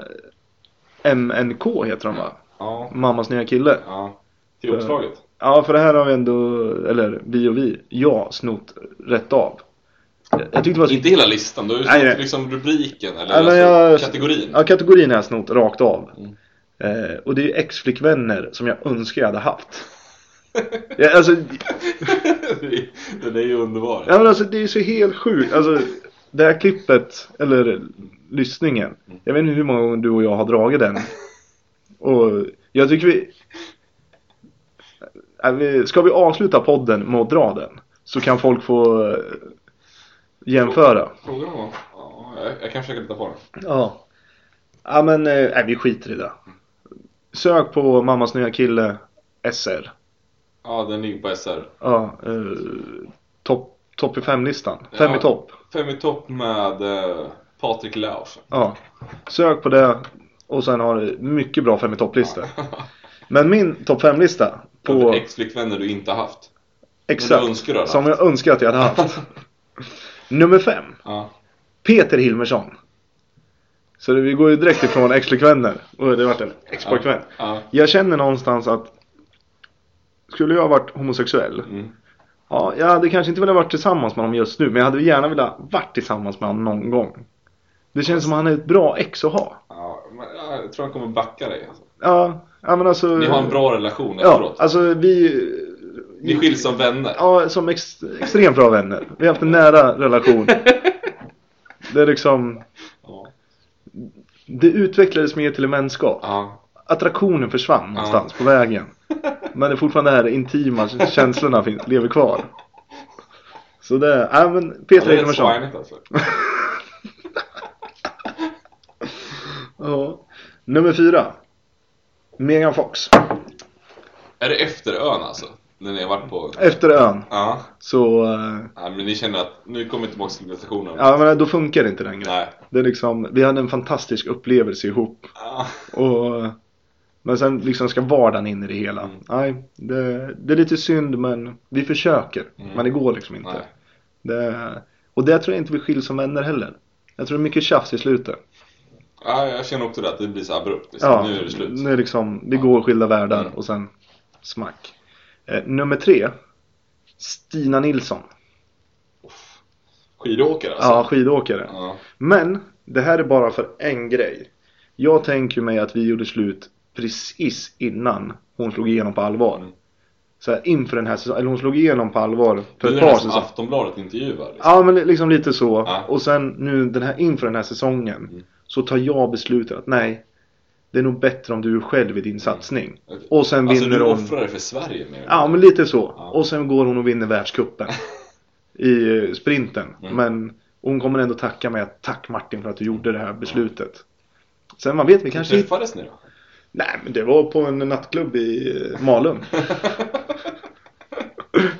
eh, MNK heter han va? Ja. Mammas nya kille. Ja. Till uppslaget. Ja, för det här har vi ändå, eller vi och vi, jag snott rätt av. Jag jag tyckte det var så... Inte hela listan, du har ju Nej, sett nej. liksom rubriken eller Ja, men alltså, jag- kategorin. Ja, kategorin har jag snott rakt av. Mm. Eh, och det är ju ex-flickvänner som jag önskar jag hade haft. ja, alltså, Den är ju underbar. ja, men alltså, det är ju så helt sjukt. Alltså, det här klippet, eller lyssningen. Jag vet inte hur många gånger du och jag har dragit den. Och jag tycker vi... Ja, vi- Ska vi avsluta podden med att dra den? Så kan folk få eh, jämföra. Frågan var... Ja, jag, jag kan försöka titta på den. Ja. Ja men, eh, nej vi skiter i det. Sök på mammas nya kille SR. Ja, den ligger på SR. Ja, eh, topp top i fem-listan. Ja. Fem i topp. Fem i topp med eh, Patrik Laursen. Ja. Sök på det och sen har du mycket bra fem i topp-listor. Men min topp fem-lista På... på Ex-flickvänner du inte haft. Men du exakt önskar du hade som haft. jag önskar att jag hade haft. Nummer fem. Ja. Peter Hilmersson. Så det, vi går ju direkt ifrån ex-flickvänner. Och det vart en ex-pojkvän. Ja. Jag känner någonstans att skulle jag ha varit homosexuell. Mm. Ja, jag hade kanske inte velat varit tillsammans med honom just nu. Men jag hade gärna velat varit tillsammans med honom någon gång. Det känns som att han är ett bra ex att ha. Ja, men jag tror han kommer backa dig. Alltså. Ja, ja men alltså. Ni har en bra relation Ja, efteråt. alltså vi. Ni skiljs som vänner. Ja, som ex, extremt bra vänner. Vi har haft en nära relation. Det är liksom. Ja. Det utvecklades mer till en vänskap. Ja. attraktionen försvann någonstans på vägen. Men det är fortfarande det här intima känslorna finns, lever kvar. Så det, ja men Ja, Peter det är rätt Hilmersson. svinigt alltså. Ja. Nummer fyra. Megan Fox. Är det efter ön alltså? När ni har varit på... Efter ön Ja. så, eh, ja men ni känner att nu kommer vi tillbaka till civilisationen. ja men då funkar inte den grejen. Nej. Det är liksom, vi hade en fantastisk upplevelse ihop. Ja. Och, men sen liksom ska vardagen in i det hela. Mm. Nej, det, det är lite synd men vi försöker. Mm. Men det går liksom inte. Nej. Det, och det tror jag inte vi skiljs som vänner heller. Jag tror det är mycket tjafs i slutet. Ja, jag känner också det att det blir så abrupt. Liksom. Ja, Nu är det slut. Nu är det liksom, vi går skilda världar Mm. och sen smack. Eh, nummer tre. Stina Nilsson. Skidåkare alltså. Ja, skidåkare. Ja. Men det här är bara för en grej. Jag tänker mig att vi gjorde slut precis innan hon slog igenom på allvar. Mm. Så här, inför den här säsongen, eller hon slog igenom på allvar Det för är ett den här par som säsonger. Aftonbladet intervjuar. Liksom. Ja men li- liksom lite så. Ja. Och sen nu den här, inför den här säsongen Mm. så tar jag beslutet att nej, det är nog bättre om du är själv i din satsning. Okej. Och sen Alltså vinner du hon. offrar dig för Sverige nu. Ja men lite så. Ja. Och sen går hon och vinner världscupen. I eh, sprinten. Mm. Men hon kommer ändå tacka mig att tack Martin för att du gjorde det här beslutet. Sen man vet, vi kanske hittar... Träffades ni då? Nej men det var på en nattklubb i eh, Malung.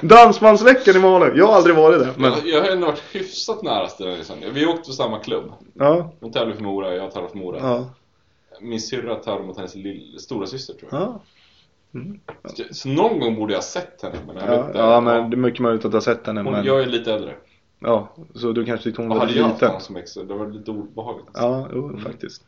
Dansbandsveckan i Malung. Jag har aldrig varit där. Men... Jag, jag har ändå varit hyfsat nära Stina Nilsson. Vi åkte till samma klubb. Ja, Hon tävlar för Mora, jag tävlar för Mora. ja, Min syrra tävlar mot hennes lill- stora syster tror jag. ja. Så- Så någon gång borde jag ha sett henne. Men jag vet Ja, inte. ja men det är mycket möjligt att du har sett henne Hon, men... Jag är lite äldre. Ja, så du kanske tyckte hon Vad var hade lite jag haft liten. honom som ex? Det var lite obehagligt. Ja, jo faktiskt.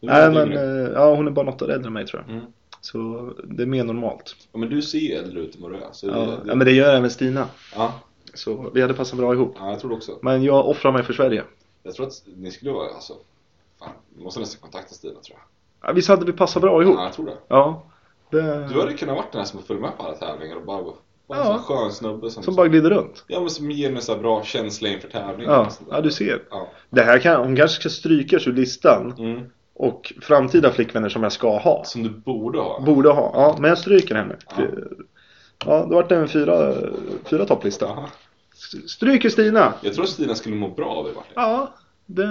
Det var Nej lite men, yngre. eh, ja hon är bara något år äldre än mig tror jag. Mm. Så det är mer normalt. Ja, men du ser äldre ut än vad du är. Så Ja, det, ja men det gör även Stina. ja, Så vi hade passat bra ihop. ja, jag tror det också. Men jag offrar mig för Sverige. Jag tror att ni skulle vara, alltså, fan, vi måste nästan kontakta Stina tror jag. Ja, visst hade vi passat bra ihop? Ja, jag tror det. Ja. Det... Du hade kunnat varit den här som följer med på alla tävlingar och bara, bara en Ja. sån här skön snubbe som, Som bara glider runt. ja, men som ger mig så här bra känsla inför tävlingen. Ja, och sånt där. ja du ser. Ja. Det här kan, hon kanske ska strykas ur listan. Mm. Och framtida flickvänner som jag ska ha. Som du borde ha. Borde ha. Ja, men jag stryker henne. Ja. Ja, då vart det en fyra, fyra topplista. Jaha. S- Stryker Stina! Jag tror att Stina skulle må bra av det Martin. Ja, det...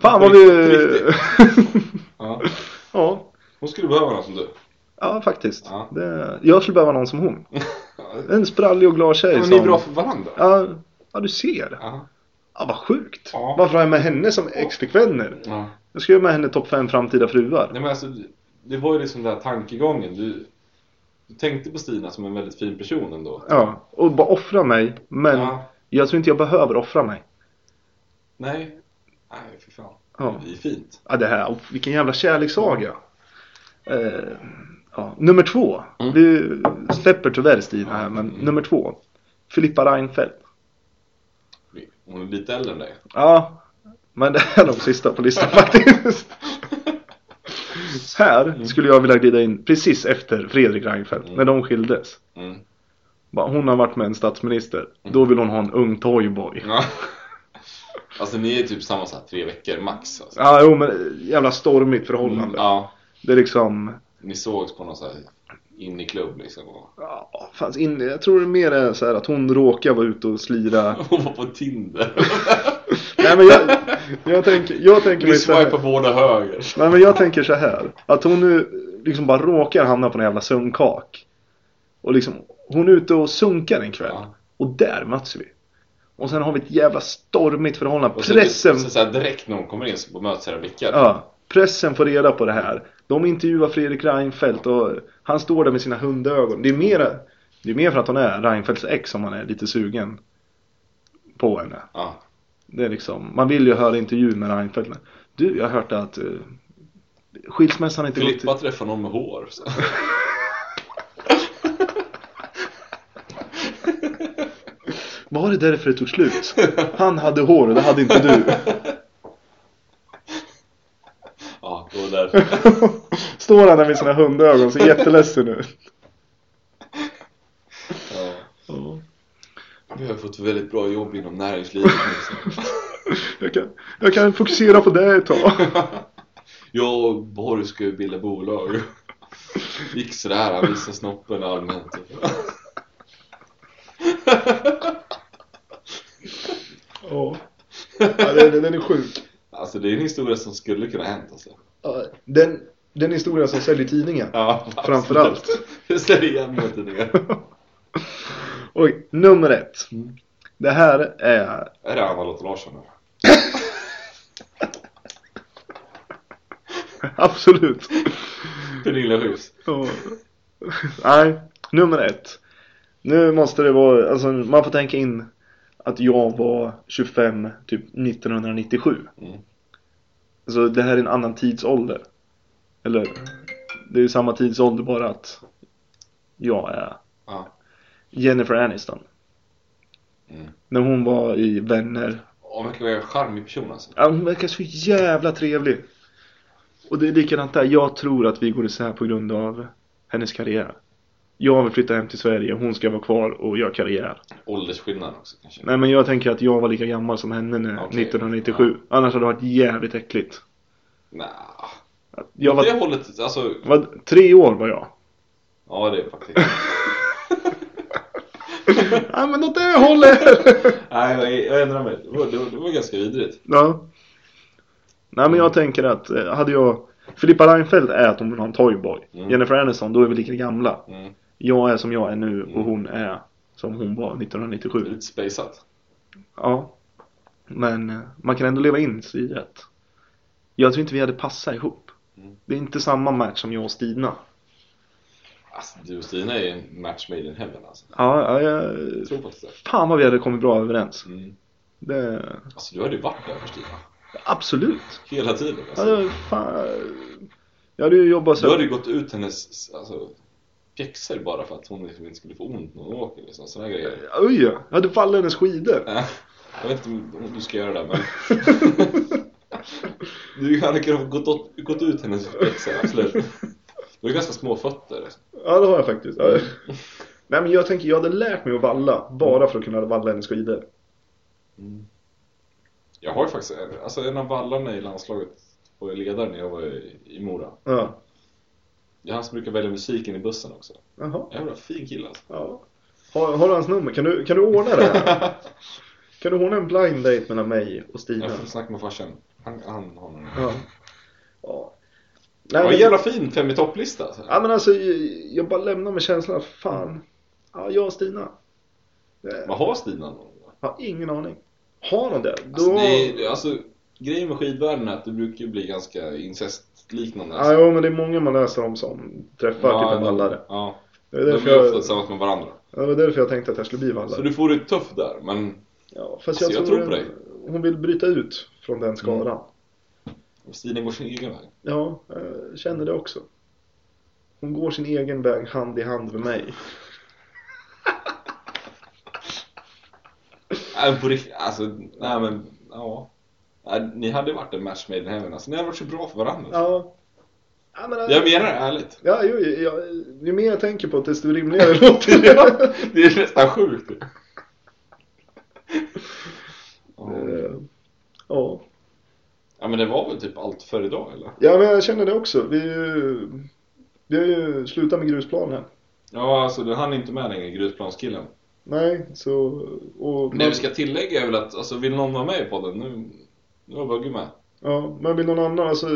Fan På vad vi... riktigt, Ja. ja, Hon skulle behöva någon som du. ja, faktiskt. Ja. Det... Jag skulle behöva någon som hon. Ja, En sprallig och glad tjej men som... ni är bra för varandra. ja, ja, du ser. Ja. Ja, vad sjukt. Ja. Varför har jag med henne som ex-flickvänner? Ja. Jag ska ju med henne topp fem framtida fruar. Nej, men alltså, det var ju liksom den här tankegången. Du, du tänkte på Stina som en väldigt fin person ändå. Ja, och bara offra mig. Men Ja. jag tror inte jag behöver offra mig. Nej. Nej, för fan. Ja. Det är fint. Ja, det här, och vilken jävla kärlekssaga. Eh, ja. Nummer två. Vi släpper tyvärr Stina här, men nummer två. Filippa Reinfeldt. Hon är lite äldre än dig. Ja, men det här är de sista på listan faktiskt. Här skulle jag vilja glida in precis efter Fredrik Reinfeldt, när de skildes. Mm. Bara, hon har varit med en statsminister, då vill hon ha en ung toyboy. Ja. Alltså ni är typ samma så här, tre veckor max. Alltså. Ja, jo men jävla stormigt förhållande. Mm, Ja. Det är liksom, Ni sågs på någon så här inneklubb liksom. Och... ja, fanns in, jag tror det mer är så här att hon råkar vara ute och slira. Hon var på Tinder. Nej men jag, jag tänker, jag tänker Ni mig så här. swipar båda höger. Nej men jag tänker så här. Att hon nu liksom bara råkar hamna på en jävla sunkak. Och liksom, hon är ute och sunkar en kväll. Ja. Och där möts vi. Och sen har vi ett jävla stormigt förhållande. Och så, Pressen, så, så här, direkt när hon kommer in så möts era blickar. ja, pressen får reda på det här. De intervjuar Fredrik Reinfeldt och han står där med sina hundögon. Det är mer, det är mer för att hon är Reinfeldts ex som man är lite sugen på henne. Ja. Det är liksom, man vill ju höra intervju med Reinfeldt. men, Du, jag har hört att uh, skilsmässan inte gått... Filippa träffar någon med hår. Så. Var det därför det tog slut? Han hade hår och det hade inte du. Ja, det var därför. Står han där med sina hundögon ser jätteledsen ut. Ja. Vi har fått väldigt bra jobb inom näringslivet. Liksom. Jag kan, jag kan fokusera på det ett tag. Jag och Borg ska ju bilda bolag. Gick sådär, han visade snoppen typ. allmänt. Ja. Ja, den, den är sjuk. Alltså det är en historia som skulle kunna hänt alltså. Ja, Den, den historien som säljer tidningen. Ja, Framförallt. Jag säger igen mina tidningar. Oj, nummer ett. Mm. Det här är... Är det Anna-Lotta Larsson? eller? Mm. Absolut. Pernilla Hus? Ja. Nej, nummer ett. Nu måste det vara, alltså man får tänka in att jag var 25 typ 1997. Mm. Så det här är en annan tidsålder. Eller, det är ju samma tidsålder bara att jag är Ja. Jennifer Aniston. Mm. När hon var i Vänner. Ja, hon verkar vara en charmig person alltså. Ja, hon verkar så jävla trevlig. Och det är likadant där. Jag tror att vi går isär på grund av hennes karriär. Jag vill flytta hem till Sverige, hon ska vara kvar och göra karriär. Åldersskillnad också kanske. Nej men jag tänker att jag var lika gammal som henne nu, Okej. 1997. Annars hade det varit jävligt äckligt. Nja. Jag Det var, hållet, alltså. var tre år var jag. Ja det är faktiskt. Ja men åt det hållet! Nej, nej, jag ändrar mig. Det var, det var, det var ganska vidrigt. ja. Nej men jag tänker att, eh, hade jag... Filippa Reinfeldt är att hon vill ha en toyboy. Mm. Jennifer Aniston, då är vi lika gamla. Mm. Jag är som jag är nu och hon är som hon var 1997. Lite spejsat. Ja. Men eh, man kan ändå leva in sig i att jag tror inte vi hade passat ihop. Mm. Det är inte samma match som jag och Stina. Alltså du och Stina är en match made in heaven alltså. Ja, ja jag... Jag tror faktiskt det. Fan vad vi hade kommit bra överens. Mm. Det... Alltså du hade ju varit där för Stina. Absolut. Hela tiden Ja, alltså. det... Fan... Jag hade ju jobbat Du så. hade ju gått ut hennes, alltså pjäxor bara för att hon liksom inte skulle få ont när hon åker liksom. Såna här grejer. Oj, jag hade fallit hennes skidor. Äh, Jag vet inte om du ska göra det men. Du hade kunnat gått, åt- gått ut hennes pjäxor, absolut. Du har ganska små fötter. Alltså. Ja, det har jag faktiskt. Ja. Nej, men jag tänker jag hade lärt mig att valla bara för att kunna valla hennes skidor. Jag har ju faktiskt, alltså en av vallarna i landslaget var ju ledare när jag var i, i Mora. Ja. Det är han som brukar välja musiken i bussen också. Jaha. Jävla fin kille alltså. Ja. Har, har du hans nummer? Kan du, kan du ordna det här? Kan du ordna en blind date mellan mig och Stina? Jag får snacka med farsan. Han, han har någon. Ja. ja. Det Nej, var men, en jävla fin fem i topplista. Alltså. ja, men alltså, jag- jag bara lämnar med känslan att fan, ja, jag och Stina. Jag Vad har Stina någon? har ingen aning. Har han det? Då... Alltså, det, är- det, alltså, grejen med skidvärlden är att det brukar ju bli ganska incestliknande. Ja, jo, men det är många man läser om som träffar typ en vallare. Ja, Det de var är därför, ofta jag, tillsammans med varandra. det var därför jag tänkte att jag skulle bli Så vallare. du får det tufft där, men Ja, fast Alltså, jag tror på dig. hon, hon vill bryta ut från den skaran. stilen går sin egen väg. Ja, jag känner det också. Hon går sin egen väg hand i hand med mig. Nej, men på riktigt, alltså, nej men, ja. Nej, ni hade varit en match made in heaven, alltså ni hade varit så bra för varandra. Ja. Ja, men, alltså- Jag menar det, ärligt. ja, ju, ja, ju mer jag tänker på det, desto rimligare låter det. Det är nästan sjukt. Ja. Eh, Ja. Ja men det var väl typ allt för idag eller? ja, men jag känner det också. Vi, är ju- vi har ju slutat med grusplanen. Ja alltså du hann inte med längre, grusplanskillen. Nej, så... Och, Det vi ska tillägga är väl att, alltså vill någon vara med i podden? Nu, nu var Bugge med. Ja, men vill någon annan, alltså,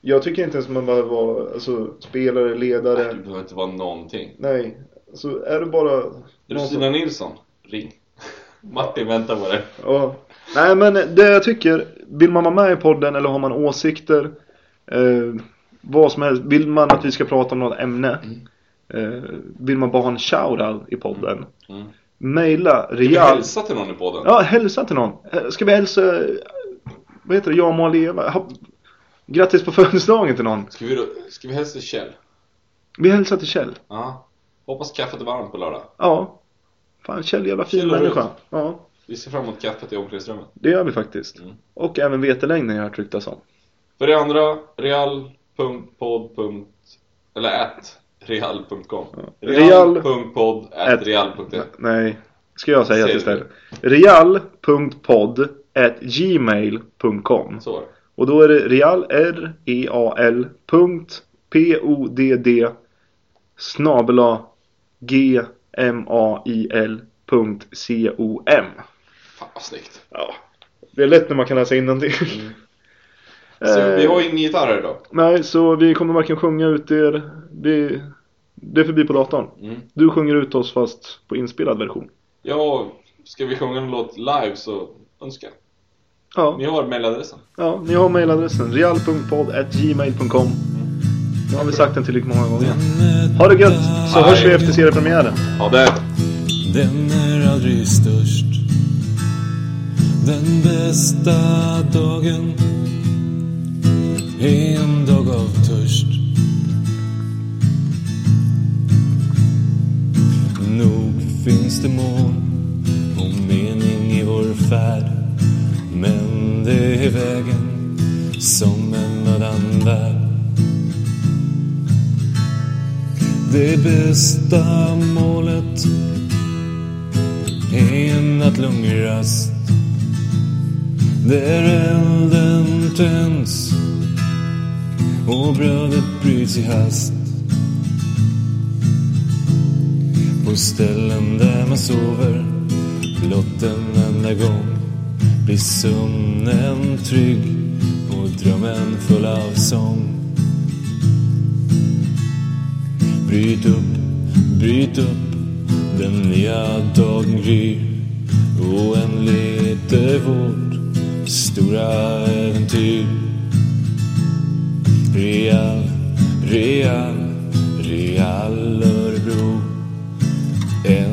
jag tycker inte ens man behöver vara alltså, spelare, Nej, ledare. Du behöver inte vara någonting. Nej, alltså är du bara... Är du någon som- Stina Nilsson? Ring. Martin väntar på dig. Ja. Nej, men det jag tycker, vill man vara med i podden eller har man åsikter, eh, vad som helst, vill man att vi ska prata om något ämne, eh, vill man bara ha en shoutout i podden, Mm. mejla Vill du Real... hälsa till någon i podden? Ja, hälsa till någon. Eh, Ska vi hälsa, eh, vad heter det, jag må leva? Ha... Grattis på födelsedagen till någon. Ska vi, då- ska vi hälsa till Kjell? Vi hälsar till Kjell. Ja. Hoppas kaffet är varmt på lördag. Ja. Fan, Kjell jävla fin Kjell har människa. rätt. Ja, Vi ser fram emot kaffet i omklädningsrummet. det gör vi faktiskt. Mm. Och även vetelängden jag har hört ryktas om. För det andra, real.pod. Eller at real.com. Real- Real.pod at At- real.se. Nej, ska jag säga Säg det det. istället. real.podd@gmail.com Så var det. Och då är det real, r e a l punkt p o d d snabela g m a i l punkt c o m. Fan vad snyggt. Ja, det är lätt när man kan läsa innantill. Mm. Så Eh, vi har ingen gitarr här idag. Nej, så vi kommer varken sjunga ut er. Vi... Det är förbi på datorn. Mm. Du sjunger ut oss fast på inspelad version. Ja, ska vi sjunga en låt live så önska. Ja. Ni har mejladressen. Ja, ni har mejladressen real.podd.gmail.com Nu har vi sagt den tillräckligt många gånger. Ha det gött, så hörs vi efter seriepremiären. Ja, det. Den är aldrig störst Den bästa dagen är en dag av törst Nog finns det mål och mening i vår färd Men det är vägen som en mödan värd Det bästa målet en nattlång rast där elden tänds och brödet bryts i hast på ställen där man sover blott en enda gång blir sömnen trygg och drömmen full av sång Bryt upp, bryt upp Den nya dagen gryr Oändligt är vårt stora äventyr Real, Real, Real Örebro En